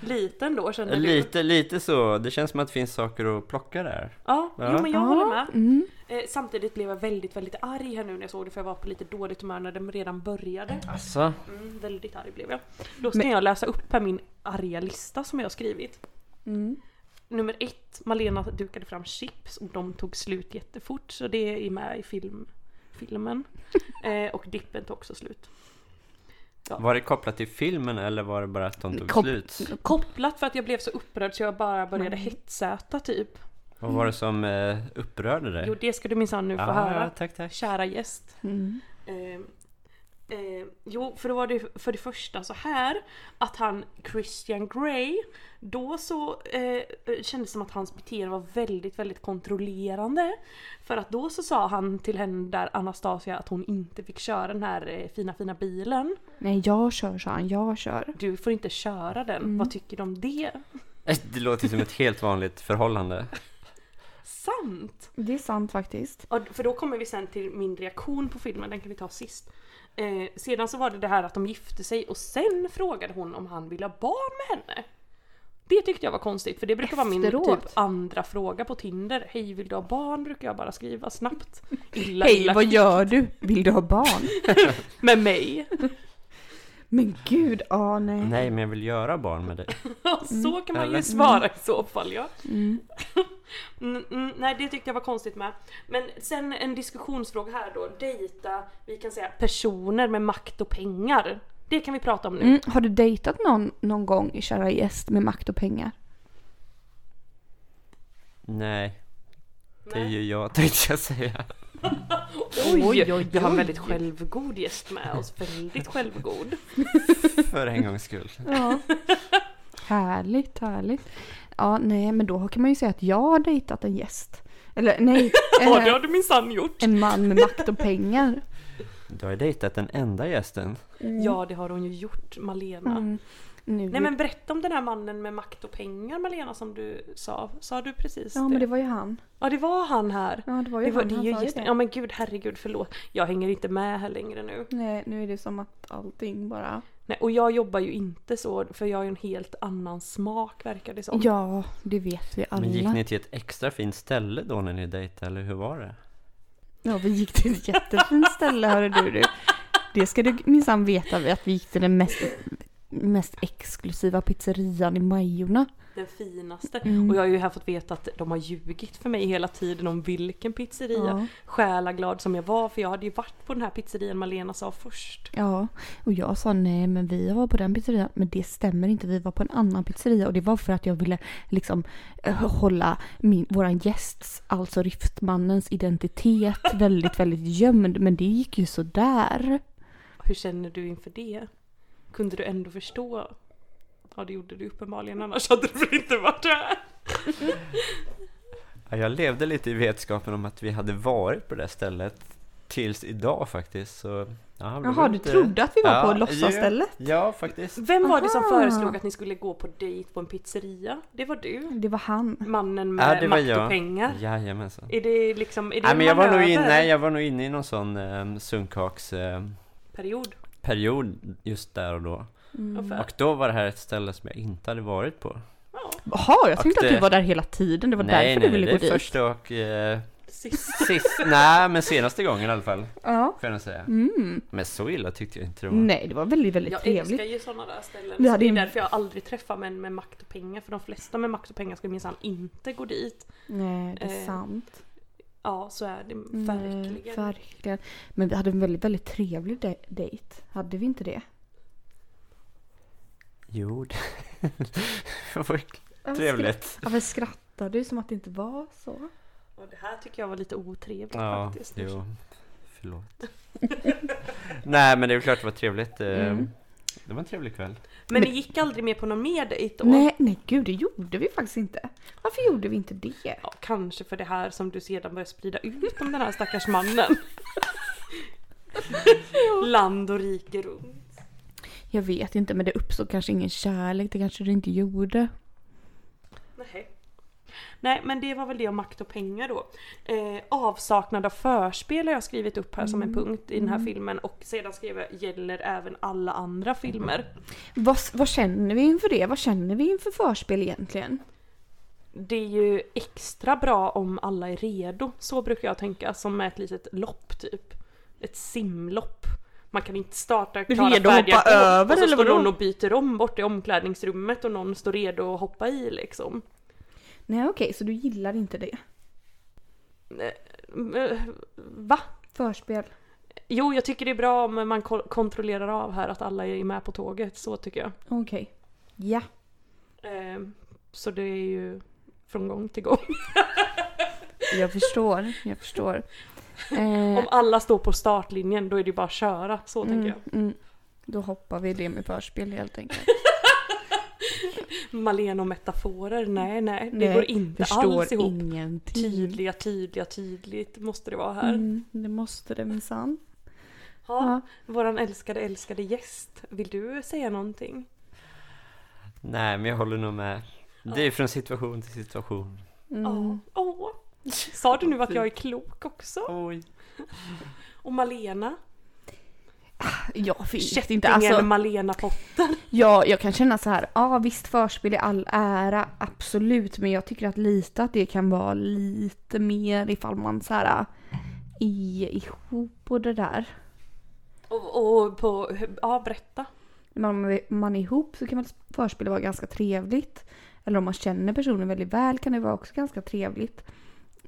S2: Liten då känner du?
S3: lite, lite så. Det känns som att det finns saker att plocka där.
S2: Ja,
S3: Ja.
S2: Jo, men jag
S1: Ja.
S2: håller med.
S1: Mm.
S2: Eh, samtidigt blev jag väldigt, väldigt arg här nu när jag såg det för jag var på lite dåligt humör när den redan började.
S3: Alltså.
S2: Mm, väldigt arg blev jag. Då ska
S1: Men-
S2: jag läsa upp här min arga lista som jag har skrivit.
S1: Mm.
S2: Nummer ett, Malena dukade fram chips och de tog slut jättefort så det är med i film, filmen. Eh, och dippen tog också slut.
S3: Var det kopplat till filmen eller var det bara att de tog
S1: Kop-
S3: slut?
S2: Kopplat för att jag blev så upprörd så jag bara började hetsäta typ.
S3: Vad var det som eh, upprörde dig?
S2: Jo det ska du minsann nu få
S3: Ah.
S2: höra.
S3: ja, tack, tack.
S2: Kära gäst.
S1: Mm.
S2: Eh, eh, jo, för då var det för det första så här att han Christian Grey då så eh, kändes det som att hans beteende var väldigt, väldigt kontrollerande. För att då så sa han till henne där Anastasia att hon inte fick köra den här eh, fina, fina bilen.
S1: Nej, jag kör sa han, jag kör.
S2: Du får inte köra den. Vad tycker du om det?
S3: Det låter som ett helt vanligt förhållande.
S1: Mm.
S2: Sant!
S1: Det är sant faktiskt.
S2: Ja, för då kommer vi sen till min reaktion på filmen, den kan vi ta sist. Eh, sedan så var det det här att de gifte sig och sen frågade hon om han ville ha barn med henne. Det tyckte jag var konstigt för det brukar vara min
S1: Efteråt.
S2: typ andra fråga på Tinder. Hej vill du ha barn? brukar jag bara skriva snabbt. Illa,
S1: Hej,
S2: illa
S1: vad gör du? Vill du ha barn?
S2: med mig.
S1: Men gud, ah nej.
S3: Nej, men jag vill göra barn med dig.
S2: Ja,
S1: Mm.
S2: så kan man
S3: Eller?
S2: ju svara i så fall ja. Mm, mm, nej det tyckte jag var konstigt med. Men sen en diskussionsfråga här då. Dejta, vi kan säga personer med makt och pengar. Det kan vi prata om nu.
S1: Mm. Har du dejtat någon någon gång, kära gäst, med makt och pengar?
S3: Nej, det är
S2: Nej.
S3: ju jag tänkte jag säga.
S2: Oj, oj, oj. Vi har en väldigt självgod gäst med oss. Väldigt självgod.
S3: För en gångs skull.
S1: Ja. härligt, härligt. Ja, nej, men då kan man ju säga att jag har dejtat en gäst. Eller nej,
S2: Ja, det
S1: eh,
S2: har du minsann gjort.
S1: en man med makt och pengar.
S3: Du har ju dejtat den enda gästen.
S2: Mm. Ja, det har hon ju gjort, Malena.
S1: Mm. Nu.
S2: Nej men berätta om den här mannen med makt och pengar Malena som du sa. Sa du precis
S1: Ja,
S2: det?
S1: men det var ju han.
S2: Ja, det var han här.
S1: Ja, det var ju
S2: Det, var,
S1: han.
S2: det är
S1: han
S2: ju
S1: sa ju
S2: gästen.
S1: det.
S2: Ja men gud, herregud, förlåt. Jag hänger inte med här längre nu.
S1: Nej, nu är det som att allting bara...
S2: Nej, och jag jobbar ju inte så, för jag har ju en helt annan smak verkar det som.
S1: Ja, det vet vi alla.
S3: Men gick ni till ett extra fint ställe då när ni dejtade, eller hur var det?
S1: Ja, vi gick till ett jättefint ställe, hörru du, du. Det ska du minsann veta, att vi gick till den mest, mest exklusiva pizzerian i Majorna.
S2: Den finaste.
S1: Mm.
S2: Och jag har ju här fått veta att de har ljugit för mig hela tiden om vilken pizzeria. Själaglad som jag var, för jag hade ju varit på den här pizzerian Malena sa först.
S1: Ja, och jag sa nej men vi var på den pizzerian. Men det stämmer inte, vi var på en annan pizzeria. Och det var för att jag ville liksom eh, hålla min, våran gästs, alltså riftmannens identitet väldigt, väldigt gömd. Men det gick ju sådär.
S2: Hur känner du inför det? Kunde du ändå förstå? Ja det gjorde du uppenbarligen, annars hade du väl inte varit här?
S3: Ja, jag levde lite i vetskapen om att vi hade varit på det stället tills idag faktiskt. Så, ja, jag blev
S1: Jaha, du
S3: lite-
S1: trodde att vi var på
S3: ju-
S1: låtsasstället?
S3: Ja, faktiskt.
S2: Vem var det som
S1: Aha.
S2: föreslog att ni skulle gå på dejt på en pizzeria? Det var du.
S1: Det var han.
S2: Mannen
S3: Ja,
S2: med
S3: det var
S2: makt
S3: jag.
S2: och pengar.
S3: Jajamensan.
S2: Är det liksom, är det
S3: Nej, men jag var, nog inne, nej,
S2: i
S3: jag var nog inne i någon sån eh, sunkhaks... Eh,
S2: period.
S3: period eh, just där och då.
S1: Mm.
S2: ungefär.
S3: Och då var det här ett ställe som jag inte hade varit på.
S2: Ja,
S1: Jaha, jag
S3: Och
S1: tänkte att
S3: det-
S1: du var där hela tiden. Det var
S3: nej,
S1: därför
S3: nej,
S1: du ville
S3: det
S1: gå
S3: är
S1: dit.
S3: första och... Eh,
S2: sist.
S3: sist, nej, men senaste gången i alla fall.
S1: Ja.
S3: Får jag nog säga.
S1: Mm.
S3: Men så illa tyckte jag inte det var.
S1: Nej, det var väldigt, väldigt
S2: Jag
S1: trevligt.
S2: älskar ju sådana där ställen.
S1: Vi
S2: så
S1: hade
S2: det är
S1: en-
S2: därför jag aldrig träffar män med makt och pengar. För de flesta med makt och pengar skulle minsann inte gå dit.
S1: Nej, det är
S2: Eh,
S1: sant.
S2: Ja, så är det
S1: Nej,
S2: verkligen.
S1: Mm, verkligen. Men vi hade en väldigt, väldigt trevlig de- dejt. Hade vi inte det?
S3: Jo, det det var trevligt.
S1: Ja, vi skrattade ju som att det inte var så.
S2: Och det här tycker jag var lite otrevligt
S3: Ja,
S2: faktiskt.
S3: jo. Förlåt. nej, men det är väl klart det var trevligt. eh,
S1: Mm.
S3: Det var en trevlig kväll.
S2: Men ni gick aldrig med på någon mer dejt då?
S1: Nej, nej gud det gjorde vi faktiskt inte. Varför gjorde vi inte det?
S2: Ja, kanske för det här som du sedan började sprida ut om den här stackars mannen. Land och rike runt.
S1: Jag vet inte men det uppstod kanske ingen kärlek, det kanske det inte gjorde.
S2: Nej. Nej men det var väl det om makt och pengar då. Eh, avsaknad av förspel har jag skrivit upp här som en punkt i den här filmen och sedan skrev jag gäller även alla andra filmer.
S1: Vad, vad känner vi inför det? Vad känner vi inför förspel egentligen?
S2: Det är ju extra bra om alla är redo, så brukar jag tänka, som ett litet lopp typ. Ett simlopp. Man kan inte starta klara
S1: Redo att
S2: färdiga
S1: hoppa
S2: på,
S1: över,
S2: och så
S1: eller
S2: står
S1: vadå?
S2: någon och byter om bort i omklädningsrummet och någon står redo att hoppa i liksom.
S1: Nej okej, så du gillar inte det?
S2: Eh, Va?
S1: Förspel.
S2: Jo, jag tycker det är bra om man ko- kontrollerar av här att alla är med på tåget, så tycker jag.
S1: Okej. Ja.
S2: Eh, Så det är ju från gång till gång.
S1: Jag förstår, jag förstår. Eh,
S2: Om alla står på startlinjen då är det ju bara att köra, så
S1: mm,
S2: tänker jag.
S1: mm. Då hoppar vi det med förspel helt enkelt.
S2: Malena och metaforer, nej nej, det
S1: Nej,
S2: går inte alls ihop.
S1: ingenting.
S2: Tydliga, tydliga, tydligt måste det vara här.
S1: Mm, det måste det minsann.
S2: Ja, våran älskade, älskade gäst, vill du säga någonting?
S3: Nej, men jag håller nog med. Det är från situation till situation.
S1: Mm.
S2: Ja. Åh! Sa du nu att jag är klok också?
S3: Oj.
S2: Och Malena?
S1: Jag vet inte.
S2: Kättingen
S1: Alltså,
S2: Malena Potter?
S1: Ja, jag kan känna så här, ja visst förspel i all ära, absolut, men jag tycker att lite att det kan vara lite mer ifall man så här är ihop och det där.
S2: Och, och på, ja berätta.
S1: När man, man är ihop så kan väl förspel vara ganska trevligt. Eller om man känner personen väldigt väl kan det vara också ganska trevligt.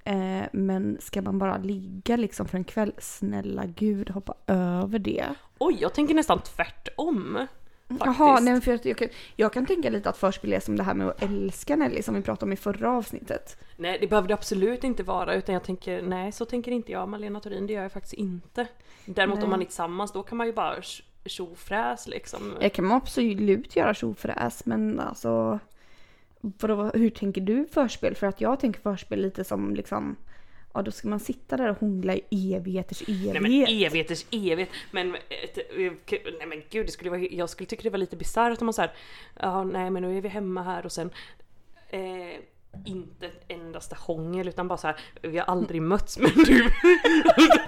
S1: Eh, men ska man bara ligga liksom för en kväll, snälla gud hoppa över det.
S2: Oj, jag tänker nästan tvärtom. Faktiskt.
S1: Jaha, nej, men för jag, jag, kan, jag kan tänka lite att förspel är som det här med att älska Nelly som vi pratade om i förra avsnittet.
S2: Nej, det behöver det absolut inte vara utan jag tänker nej så tänker inte jag Malena Torin, det gör jag faktiskt inte. Däremot
S1: Nej.
S2: om man är tillsammans då kan man ju bara tj- tjofräs liksom.
S1: Det kan man absolut göra tjofräs men alltså vadå, hur tänker du förspel? För att jag tänker förspel lite som liksom ja då ska man sitta där och hångla i evigheters evighet.
S2: Nej men evigheters evighet. Men, ett, eh, nej men gud, det skulle vara, jag skulle tycka det var lite bisarrt om man såhär, ja nej men nu är vi hemma här och sen eh, inte ett endaste hångel utan bara så här, vi har aldrig mötts men du,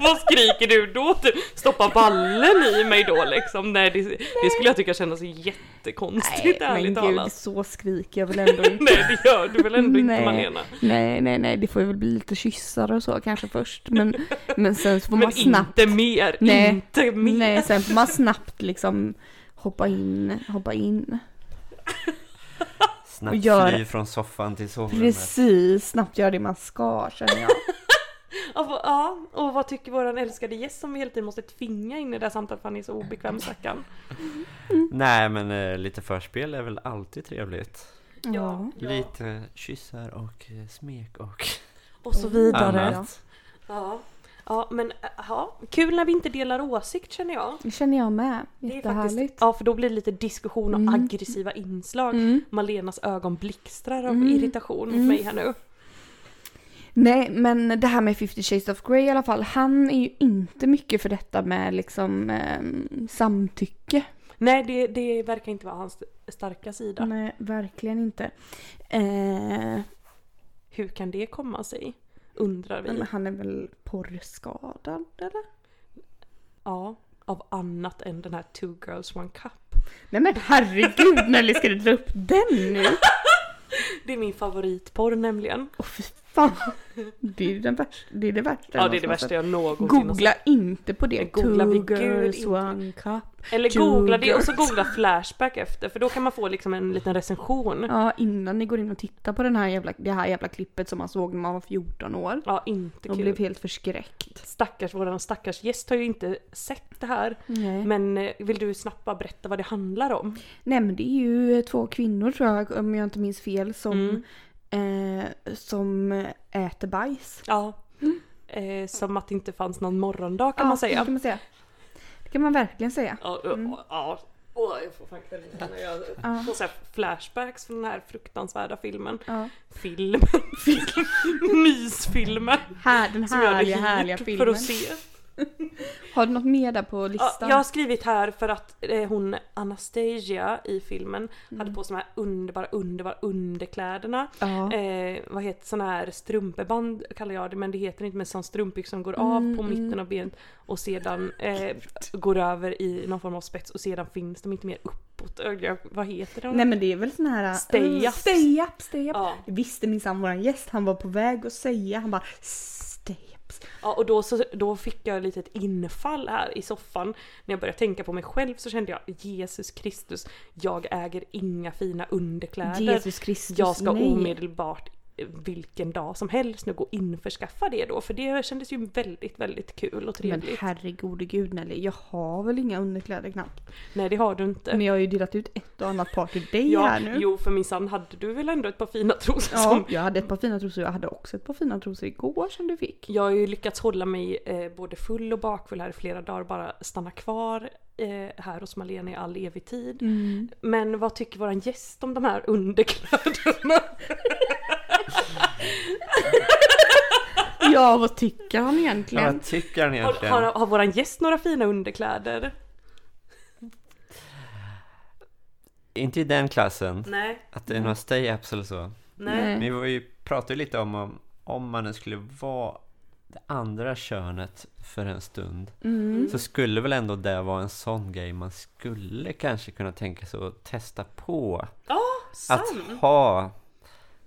S2: vad skriker du då? Typ, stoppa ballen i mig då liksom. Nej det, det skulle jag tycka kändes jättekonstigt
S1: Nej, men
S2: ärligt
S1: gud
S2: talat.
S1: så skriker jag väl ändå inte.
S2: Nej det gör du väl ändå inte
S1: Nej.
S2: Malena?
S1: nej nej nej det får väl bli lite kyssar och så kanske först men, men sen så får
S2: Men
S1: man snabbt
S2: inte mer,
S1: Nej.
S2: inte mer.
S1: Nej, sen får man snabbt liksom hoppa in, hoppa in.
S3: Snabbt
S1: Gör-
S3: fly från soffan till sovrummet.
S1: Precis, snabbt göra det man ska känner jag.
S2: Ja, vad- Ja, och vad tycker våran älskade gäst som vi hela tiden måste tvinga in i det här samtalet för han är så obekväm stackarn?
S3: Nej, men eh, lite förspel är väl alltid trevligt.
S1: Ja.
S3: Lite kyssar och eh, smek och
S2: Och så
S1: Mm.
S2: vidare.
S3: annat.
S2: Ja. Ja, men äh, ja, kul när vi inte delar åsikt känner jag.
S1: Det känner jag med.
S2: Det är faktiskt,
S1: Jättehärligt.
S2: ja, för då blir det lite diskussion och
S1: Mm.
S2: aggressiva inslag. Malenas ögon blixtrar av
S1: Mm.
S2: irritation mot mig här nu.
S1: Nej, men det här med 50 shades of Grey i alla fall. Han är ju inte mycket för detta med liksom ehm, samtycke.
S2: Nej, det, det verkar inte vara hans starka sida.
S1: Nej, verkligen inte. Eh,
S2: Hur kan det komma sig? Undrar vi.
S1: men han är väl porrskadad eller?
S2: Ja, av annat än den här Two Girls One Cup.
S1: Nej men herregud Nelly, ska du dra upp den nu?
S2: Det är min favoritporr nämligen.
S1: Åh fy fan. Det är ju den värsta, det är det värsta.
S2: Ja,
S1: jag
S2: det är det
S1: någonsin har sett.
S2: värsta jag någonsin har sett.
S1: Googla inte på det.
S2: Googla vi
S1: Two
S2: gud
S1: girls
S2: inte.
S1: one cup.
S2: Eller
S1: Two
S2: googla det och så
S1: girls.
S2: googla Flashback efter för då kan man få liksom en liten recension. Ja,
S1: Ja, innan ni går in och tittar på den här jävla, det här jävla klippet som man såg när man var 14 år.
S2: inte
S1: Och
S2: kul.
S1: blev helt förskräckt.
S2: Stackars, våran stackars gäst har ju inte sett det här.
S1: Nej.
S2: Men eh, vill du snabbt bara berätta vad det handlar om?
S1: Nej men det är ju eh, två kvinnor tror jag, om jag inte minns fel,
S2: Mm.
S1: som, eh, som äter bajs.
S2: Ja. Eh, som att det inte fanns någon morgondag kan
S1: Mm. Ja, Det
S2: man säga.
S1: kan man säga. Det kan man verkligen säga.
S2: Ja, ja, ja, Åh, jag får fan kvällningar när jag
S1: Mm. Ja.
S2: får så här flashbacks från den här fruktansvärda filmen.
S1: Ja.
S2: Film. Mysfilmen.
S1: Här, den
S2: Som jag hade
S1: härliga, härliga
S2: hyrt för
S1: filmen.
S2: att se.
S1: Har du något mer där på
S2: Ja,
S1: listan?
S2: jag har skrivit här för att eh, hon Anastasia i filmen
S1: Mm.
S2: hade på sig de här underbara, underbara underkläderna.
S1: Ja.
S2: Eh, vad heter sådana här strumpeband kallar jag det men det heter inte men sån strumpbyx som går av
S1: Mm,
S2: på
S1: mm.
S2: mitten av benet och sedan eh, går över i någon form av spets och sedan finns de inte mer uppåt. Ö, jag- Vad heter de?
S1: Nej men det är väl sån här...
S2: Stay
S1: Mm,
S2: up.
S1: Stay up, stay up.
S2: Ja.
S1: Det visste minsann våran gäst, han var på väg att säga, han bara stay up.
S2: Ja, och då, så, då fick jag lite ett infall här i soffan. När jag började tänka på mig själv så kände jag Jesus Kristus, jag äger inga fina underkläder.
S1: Jesus Kristus,
S2: jag ska
S1: nej.
S2: omedelbart eh, vilken dag som helst nu gå införskaffa det då. För det kändes ju väldigt, väldigt kul och
S1: Men
S2: trevligt.
S1: herregode gud Nelly, jag har väl inga underkläder knappt.
S2: Nej det har du inte.
S1: Men jag har ju delat ut ett och annat par till dig
S2: Ja,
S1: här nu.
S2: jo för minsann hade du väl ändå ett par fina trosor
S1: Ja,
S2: som
S1: jag hade ett par fina trosor, jag hade också ett par fina trosor igår som du fick.
S2: Jag har ju lyckats hålla mig eh, både full och bakfull här i flera dagar, bara stanna kvar eh, här hos Malena i all evig tid. Men vad tycker våran gäst om de här underkläderna?
S1: Ja, vad tycker han
S3: Ja,
S1: egentligen?
S3: vad tycker han
S2: Har,
S3: egentligen?
S2: har, har våran gäst några fina underkläder?
S3: Inte i den klassen.
S2: Nej,
S3: Att det är några stay-ups eller så.
S1: Nej.
S3: Men vi var ju, pratade ju lite om om, om man skulle vara det andra könet för en stund.
S1: Mm.
S3: Så skulle väl ändå det vara en sån grej man skulle kanske kunna tänka sig att testa på.
S2: Ja,
S3: Att
S2: sant!
S3: ha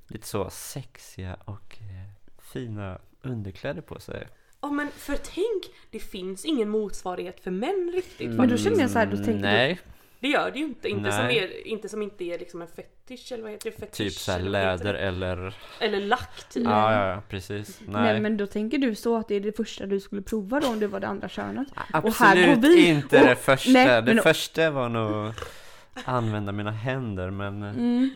S3: lite så sexiga och eh, fina underkläder på sig.
S2: Ja men för tänk, det finns ingen motsvarighet för män riktigt.
S1: Men då känner jag så här, då
S3: Mm,
S1: tänker du-
S3: Nej,
S2: Det gör det ju inte. Inte, som,
S3: Nej.
S2: är, inte som inte är liksom en fetisch eller vad heter det? Fetisch,
S3: typ såhär
S2: eller vad heter
S3: läder
S2: det?
S3: eller...
S2: Eller lack typ.
S3: Ja, ja, ja, precis. Nej.
S1: Nej men då tänker du så att det är det första du skulle prova då om det var det andra könet? här
S3: Absolut
S1: går vi.
S3: inte
S1: Och-
S3: det första.
S1: nej,
S3: det
S1: men-
S3: första var nog använda mina händer men... eh,
S1: Mm.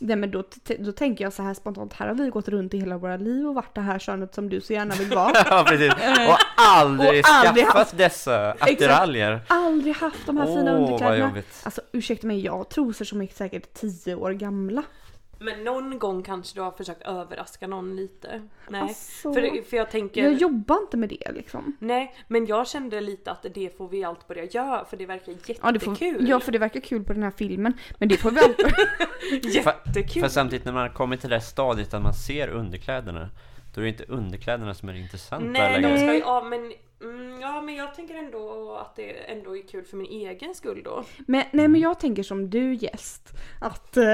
S1: Nej men då, t- då tänker jag så här spontant, här har vi gått runt i hela våra liv och varit det här könet som du så gärna vill vara.
S3: ja precis. Och aldrig
S1: Och aldrig
S3: skaffat dessa attiraljer.
S1: Aldrig haft de här fina
S3: Åh vad
S1: underkläderna.
S3: jobbigt.
S1: Alltså ursäkta mig, jag har trosor som är säkert tio år gamla.
S2: Men någon gång kanske du har försökt överraska någon lite? Nej.
S1: Alltså,
S2: För, för jag tänker...
S1: jag jobbar inte med det liksom.
S2: Nej, men jag kände lite att det får vi allt börja göra för det verkar jättekul.
S1: Ja, det får, ja för det verkar kul på den här filmen. Men det får vi alltid...
S2: Jättekul!
S3: För samtidigt när man har kommit till det här stadiet att man ser underkläderna. Då är det inte underkläderna som är det intressanta
S2: Nej, de
S3: längre.
S2: ska ju av men... Mm, ja, men jag tänker ändå att det ändå är kul för min egen skull då.
S1: men, nej men jag tänker som du gäst. Att, eh,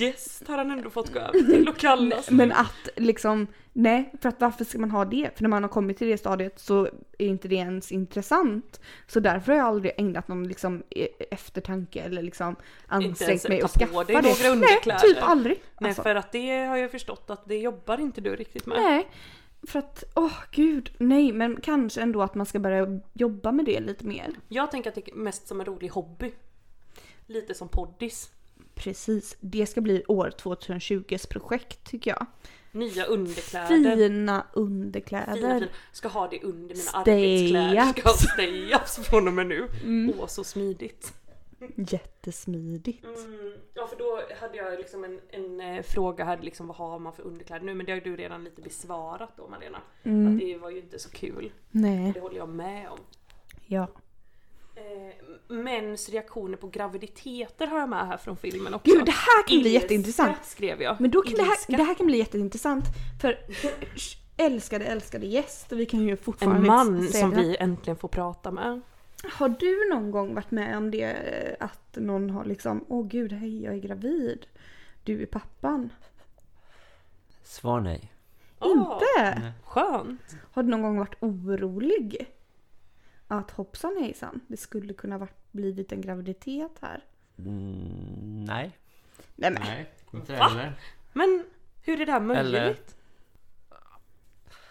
S2: Yes, har han ändå fått gå över till och kallas.
S1: men att liksom, nej för att varför ska man ha det? För när man har kommit till det stadiet så är inte det ens intressant. Så därför har jag aldrig ägnat någon liksom e- eftertanke eller liksom
S2: ens
S1: ansträngt mig att
S2: ta på
S1: skaffa
S2: dig några
S1: det.
S2: underkläder.
S1: Nej, typ aldrig.
S2: Nej,
S1: alltså.
S2: för att det har jag förstått att det jobbar inte du riktigt med.
S1: Nej, för att åh gud, nej men kanske ändå att man ska börja jobba med det lite mer.
S2: Jag tänker att det är mest som en rolig hobby. Lite som poddis.
S1: Precis, det ska bli år 2020s projekt tycker jag.
S2: Nya underkläder.
S1: Fina
S2: fina, fina.
S1: underkläder.
S2: Ska ha det under mina
S1: Stay
S2: arbetskläder. Ska ha
S1: ups.
S2: stay-ups från och med nu. Åh så smidigt.
S1: Mm. Jättesmidigt.
S2: Mm. Ja för då hade jag liksom en, en eh, fråga här liksom vad har man för underkläder nu men det har ju du redan lite besvarat då Malena. Att det var ju inte så kul.
S1: Mm. Nej,
S2: Det håller jag med om.
S1: ja.
S2: Eh, mäns reaktioner på graviditeter har jag med här från filmen också.
S1: Gud det här kan bli
S2: Ilska
S1: jätteintressant.
S2: skrev jag.
S1: Men då kan det, här,
S2: Ilska.
S1: det här kan bli jätteintressant för älskade älskade gäst och vi kan ju fortfarande
S2: En man
S1: säga
S2: som
S1: det.
S2: vi äntligen får prata med.
S1: Har du någon gång varit med om det eh, att någon har liksom åh gud hej jag är gravid. Du är pappan.
S3: Svar nej.
S1: Inte?
S2: Skönt.
S1: Eh, Har du någon gång varit orolig? Att hoppsan hejsan, det skulle kunna varit, blivit en graviditet här.
S3: Mm, nej.
S1: Nej men
S3: Nej. Inte heller.
S2: Men hur är det här möjligt?
S3: Eller?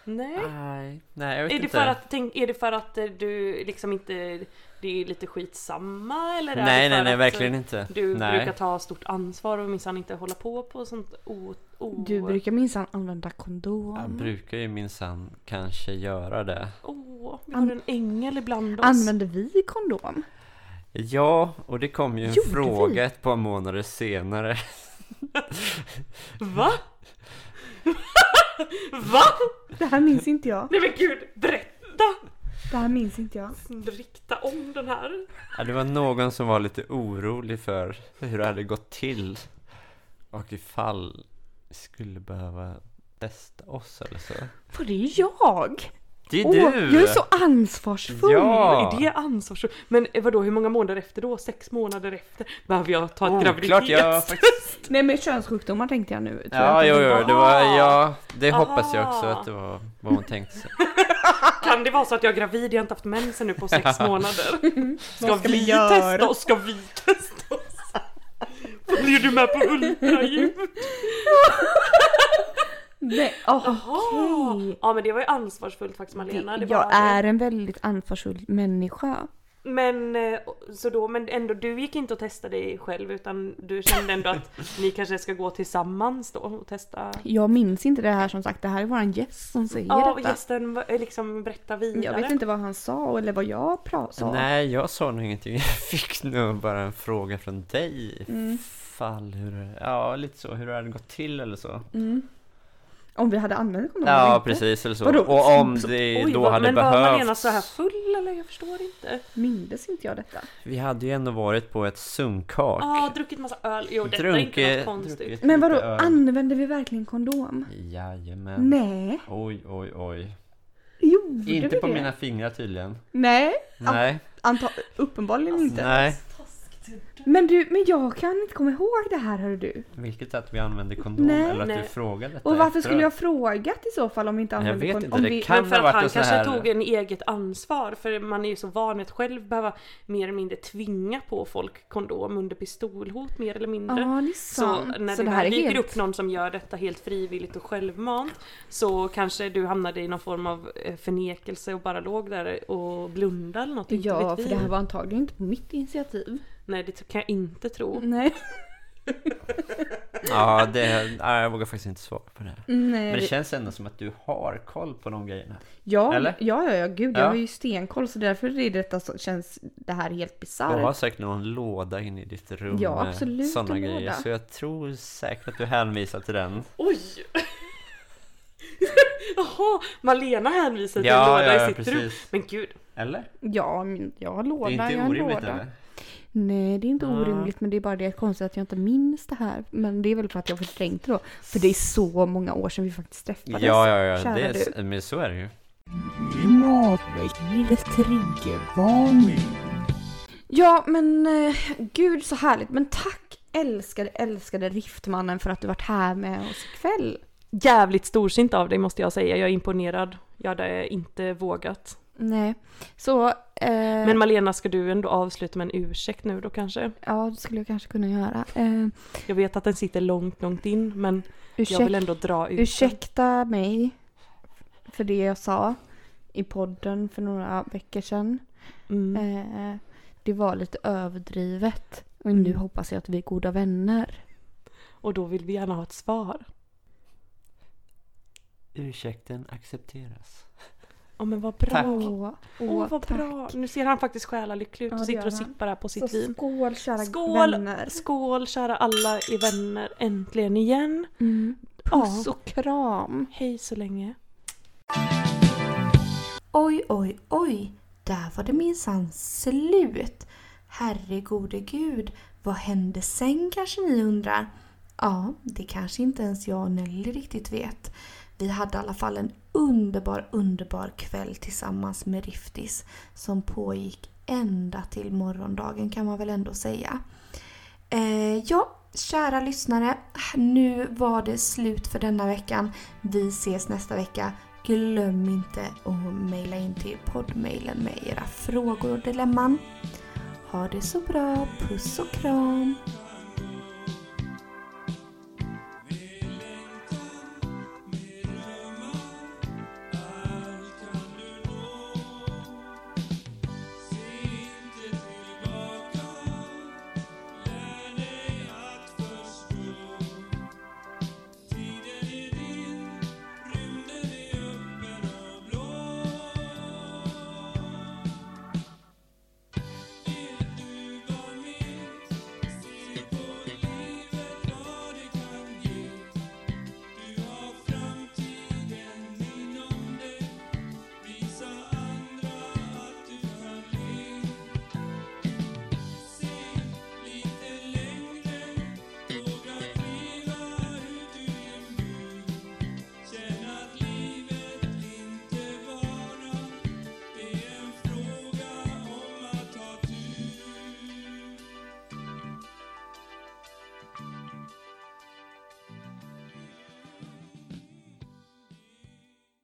S2: Nej.
S3: Nej. Nej, jag vet
S2: Är det,
S3: inte.
S2: för att, tänk, är det för att eh, du liksom inte... Det är lite skitsamma eller? är
S3: Nej,
S2: det för
S3: nej, nej,
S2: att,
S3: verkligen
S2: eh,
S3: inte.
S2: Du
S3: nej.
S2: brukar ta stort ansvar och minsann inte hålla på på sånt o... o
S1: du brukar minsann använda kondom.
S2: Mm.
S3: Jag brukar ju minsann kanske göra det.
S2: Åh, vi har en ängel ibland oss.
S1: Använder vi kondom?
S3: Ja, och det kom ju en
S1: Gjorde
S3: fråga
S1: vi?
S3: ett par månader senare.
S2: Va? Va?
S1: Det här minns inte jag.
S2: Nej men gud, berätta!
S1: Det här minns inte jag.
S2: Rikta om den här.
S3: Ja, det var någon som var lite orolig för hur det hade gått till. Och ifall vi skulle behöva testa oss eller så.
S1: För det är jag!
S3: Det är
S1: Åh,
S3: du!
S1: jag är så ansvarsfull!
S3: Ja!
S2: Är det ansvarsfullt? Men eh, vadå, hur många månader efter då? Sex månader efter? Behöver jag ta ett
S3: Oh, klart jag
S2: graviditetstest?
S3: faktiskt...
S1: Nej men könssjukdomar tänkte jag nu. tror
S3: Ja,
S1: jag.
S3: jo, jo, det var,
S2: Aha.
S3: ja, det hoppas jag också
S2: "Ah, Aha.
S3: att det var vad hon tänkte sig.
S2: Kan det vara så att jag är gravid? Jag har inte haft mensen nu på sex månader. Ska,
S1: ska vi
S2: vi
S1: göra?
S2: testa oss? Ska vi testa oss? Blir du med på ultraljud?
S1: Nej, åh,
S2: Jaha.
S1: okej.
S2: Ja men det var ju ansvarsfullt faktiskt Malena. Det, var
S1: Jag
S2: det.
S1: är en väldigt ansvarsfull människa.
S2: Men eh, så då, men ändå du gick inte och testade dig själv utan du kände ändå att ni kanske ska gå tillsammans då och testa?
S1: Jag minns inte det här som sagt, det här är våran gäst som säger
S2: Ja, och
S1: detta.
S2: gästen eh, liksom berätta vidare.
S1: Jag vet inte vad han sa eller vad jag pra- sa.
S3: Nej, jag sa nog ingenting. Jag fick nog bara en fråga från dig.
S2: Mm.
S1: Mm,
S3: Fall hur, ja lite så, hur det hade gått till eller så.
S1: Mm. Om vi hade använt kondomer eller
S3: Ja,
S1: inte.
S3: precis eller så.
S1: Vadå?
S3: Och om det
S2: Oj,
S3: då
S2: vad-
S3: hade
S2: men var Malena
S3: behövts.
S2: så här full eller? Jag förstår inte.
S1: Mindes inte jag detta.
S3: Vi hade ju ändå varit på ett sunkak.
S2: Ja, Ah, druckit massa öl. Jo, detta är inte något konstigt.
S1: Men vadå,
S3: lite öl.
S1: använde vi verkligen kondom?
S3: Jajamän.
S1: Nej,
S3: Oj, oj, oj.
S1: gjorde vi
S3: Inte på
S1: det?
S3: mina fingrar tydligen.
S1: Nej,
S3: Nej,
S1: anta- uppenbarligen inte.
S3: Alltså, nej.
S1: Men du, men jag kan inte komma ihåg det här hörru du.
S3: Vilket att vi använde kondom
S1: Nej.
S3: eller att
S2: Nej.
S3: du frågade detta
S1: Och varför
S3: efteråt.
S1: skulle jag ha frågat i så fall om vi inte
S3: Jag
S1: använde
S3: vet
S1: kondom?
S3: inte,
S1: om
S3: det
S1: vi...
S3: kan-
S2: Men för
S3: ha
S2: att
S3: varit
S2: han
S3: en sån
S2: kanske
S3: här-
S2: tog en eget ansvar för man är ju så van vid att själv behöva mer eller mindre tvinga på folk kondom under pistolhot mer eller
S1: Ja,
S2: mindre.
S1: det är
S2: Så
S1: sant.
S2: när
S1: så
S2: det
S1: det här är
S2: dyker
S1: helt...
S2: upp någon som gör detta helt frivilligt och självmant så kanske du hamnade i någon form av eh, förnekelse och bara låg där och blundade eller något. inte
S1: Ja,
S2: vet vi.
S1: för det här var antagligen inte på mitt initiativ.
S2: Nej, det kan jag inte tro.
S1: Nej.
S3: Ja, det, nej, jag vågar faktiskt inte svara på det. här.
S1: Nej.
S3: Men det
S1: det-
S3: känns ändå som att du har koll på de grejerna.
S1: Ja, ja,
S3: Eller?
S1: ja, ja, gud, jag
S3: Ja.
S1: har ju stenkoll så därför är detta så, känns det här helt
S3: Du har
S1: bisarrt.
S3: säkert någon låda inne i ditt rum
S1: Ja,
S3: med
S1: absolut
S3: sådana
S1: en
S3: grejer.
S1: låda. Typ
S3: Så jag tror säkert att du hänvisar till den.
S2: Oj! Jaha, Malena hänvisar till
S3: Ja,
S2: en låda
S3: ja, ja,
S2: i sitt rum.
S3: precis.
S2: Men gud,
S3: Eller?
S1: Ja, men jag har låda,
S3: det är
S1: jag
S3: inte
S1: har
S3: orimligt
S1: låda.
S3: eller? Ah.
S1: Nej, det är inte
S3: Ja.
S1: orimligt men det är bara det konstigt att jag inte minns det här. Men det är väl för att jag har förträngt det då. För det är så många år sedan vi faktiskt
S3: Ja,
S1: träffades.
S3: ja, ja.
S1: kära
S3: Det
S1: du.
S3: är, men så är det ju.
S5: Klimatväckande triggervarning.
S1: Ja, men eh, gud så härligt. Men tack älskade, älskade Riftmannen för att du varit här med oss ikväll.
S2: jävligt storsint av dig måste jag säga. Jag är imponerad. Jag hade inte vågat.
S1: Nej, så... Eh,
S2: Men Malena, ska du ändå avsluta med en ursäkt nu då kanske?
S1: ja, det skulle jag kanske kunna göra. Eh,
S2: Jag vet att den sitter långt, långt in, men jag
S1: ursäk,
S2: vill ändå dra ut den.
S1: ursäkta mig för det jag sa i podden för några veckor sedan.
S2: Mm.
S1: Eh, det var lite överdrivet. Och
S2: Mm.
S1: nu hoppas jag att vi är goda vänner.
S2: Och då vill vi gärna ha ett svar.
S3: Ursäkten accepteras.
S2: Ja men vad bra.
S3: Tack.
S2: Åh
S1: Åh, åh,
S2: vad
S1: tack.
S2: bra. Nu ser han faktiskt själalycklig ut
S1: Ja,
S2: och
S1: det
S2: sitter
S1: gör
S2: och
S1: han.
S2: sippar här på
S1: Så
S2: sitt vin.
S1: skål kära
S2: Skål!
S1: vänner.
S2: Skål kära alla i vänner, äntligen igen.
S1: Mm. Puss
S2: Ja.
S1: och kram.
S2: Hej så länge.
S6: Oj, oj, oj. Där var det minsann slut. Herregode gud, vad hände sen kanske ni undrar? Ja, det kanske inte ens jag och Nelly riktigt vet. Vi hade i alla fall en underbar, underbar kväll tillsammans med Riftis som pågick ända till morgondagen kan man väl ändå säga. Eh, ja, kära lyssnare. Nu var det slut för denna veckan. Vi ses nästa vecka. Glöm inte att mejla in till poddmailen med era frågor och dilemman. Ha det så bra. Puss och kram.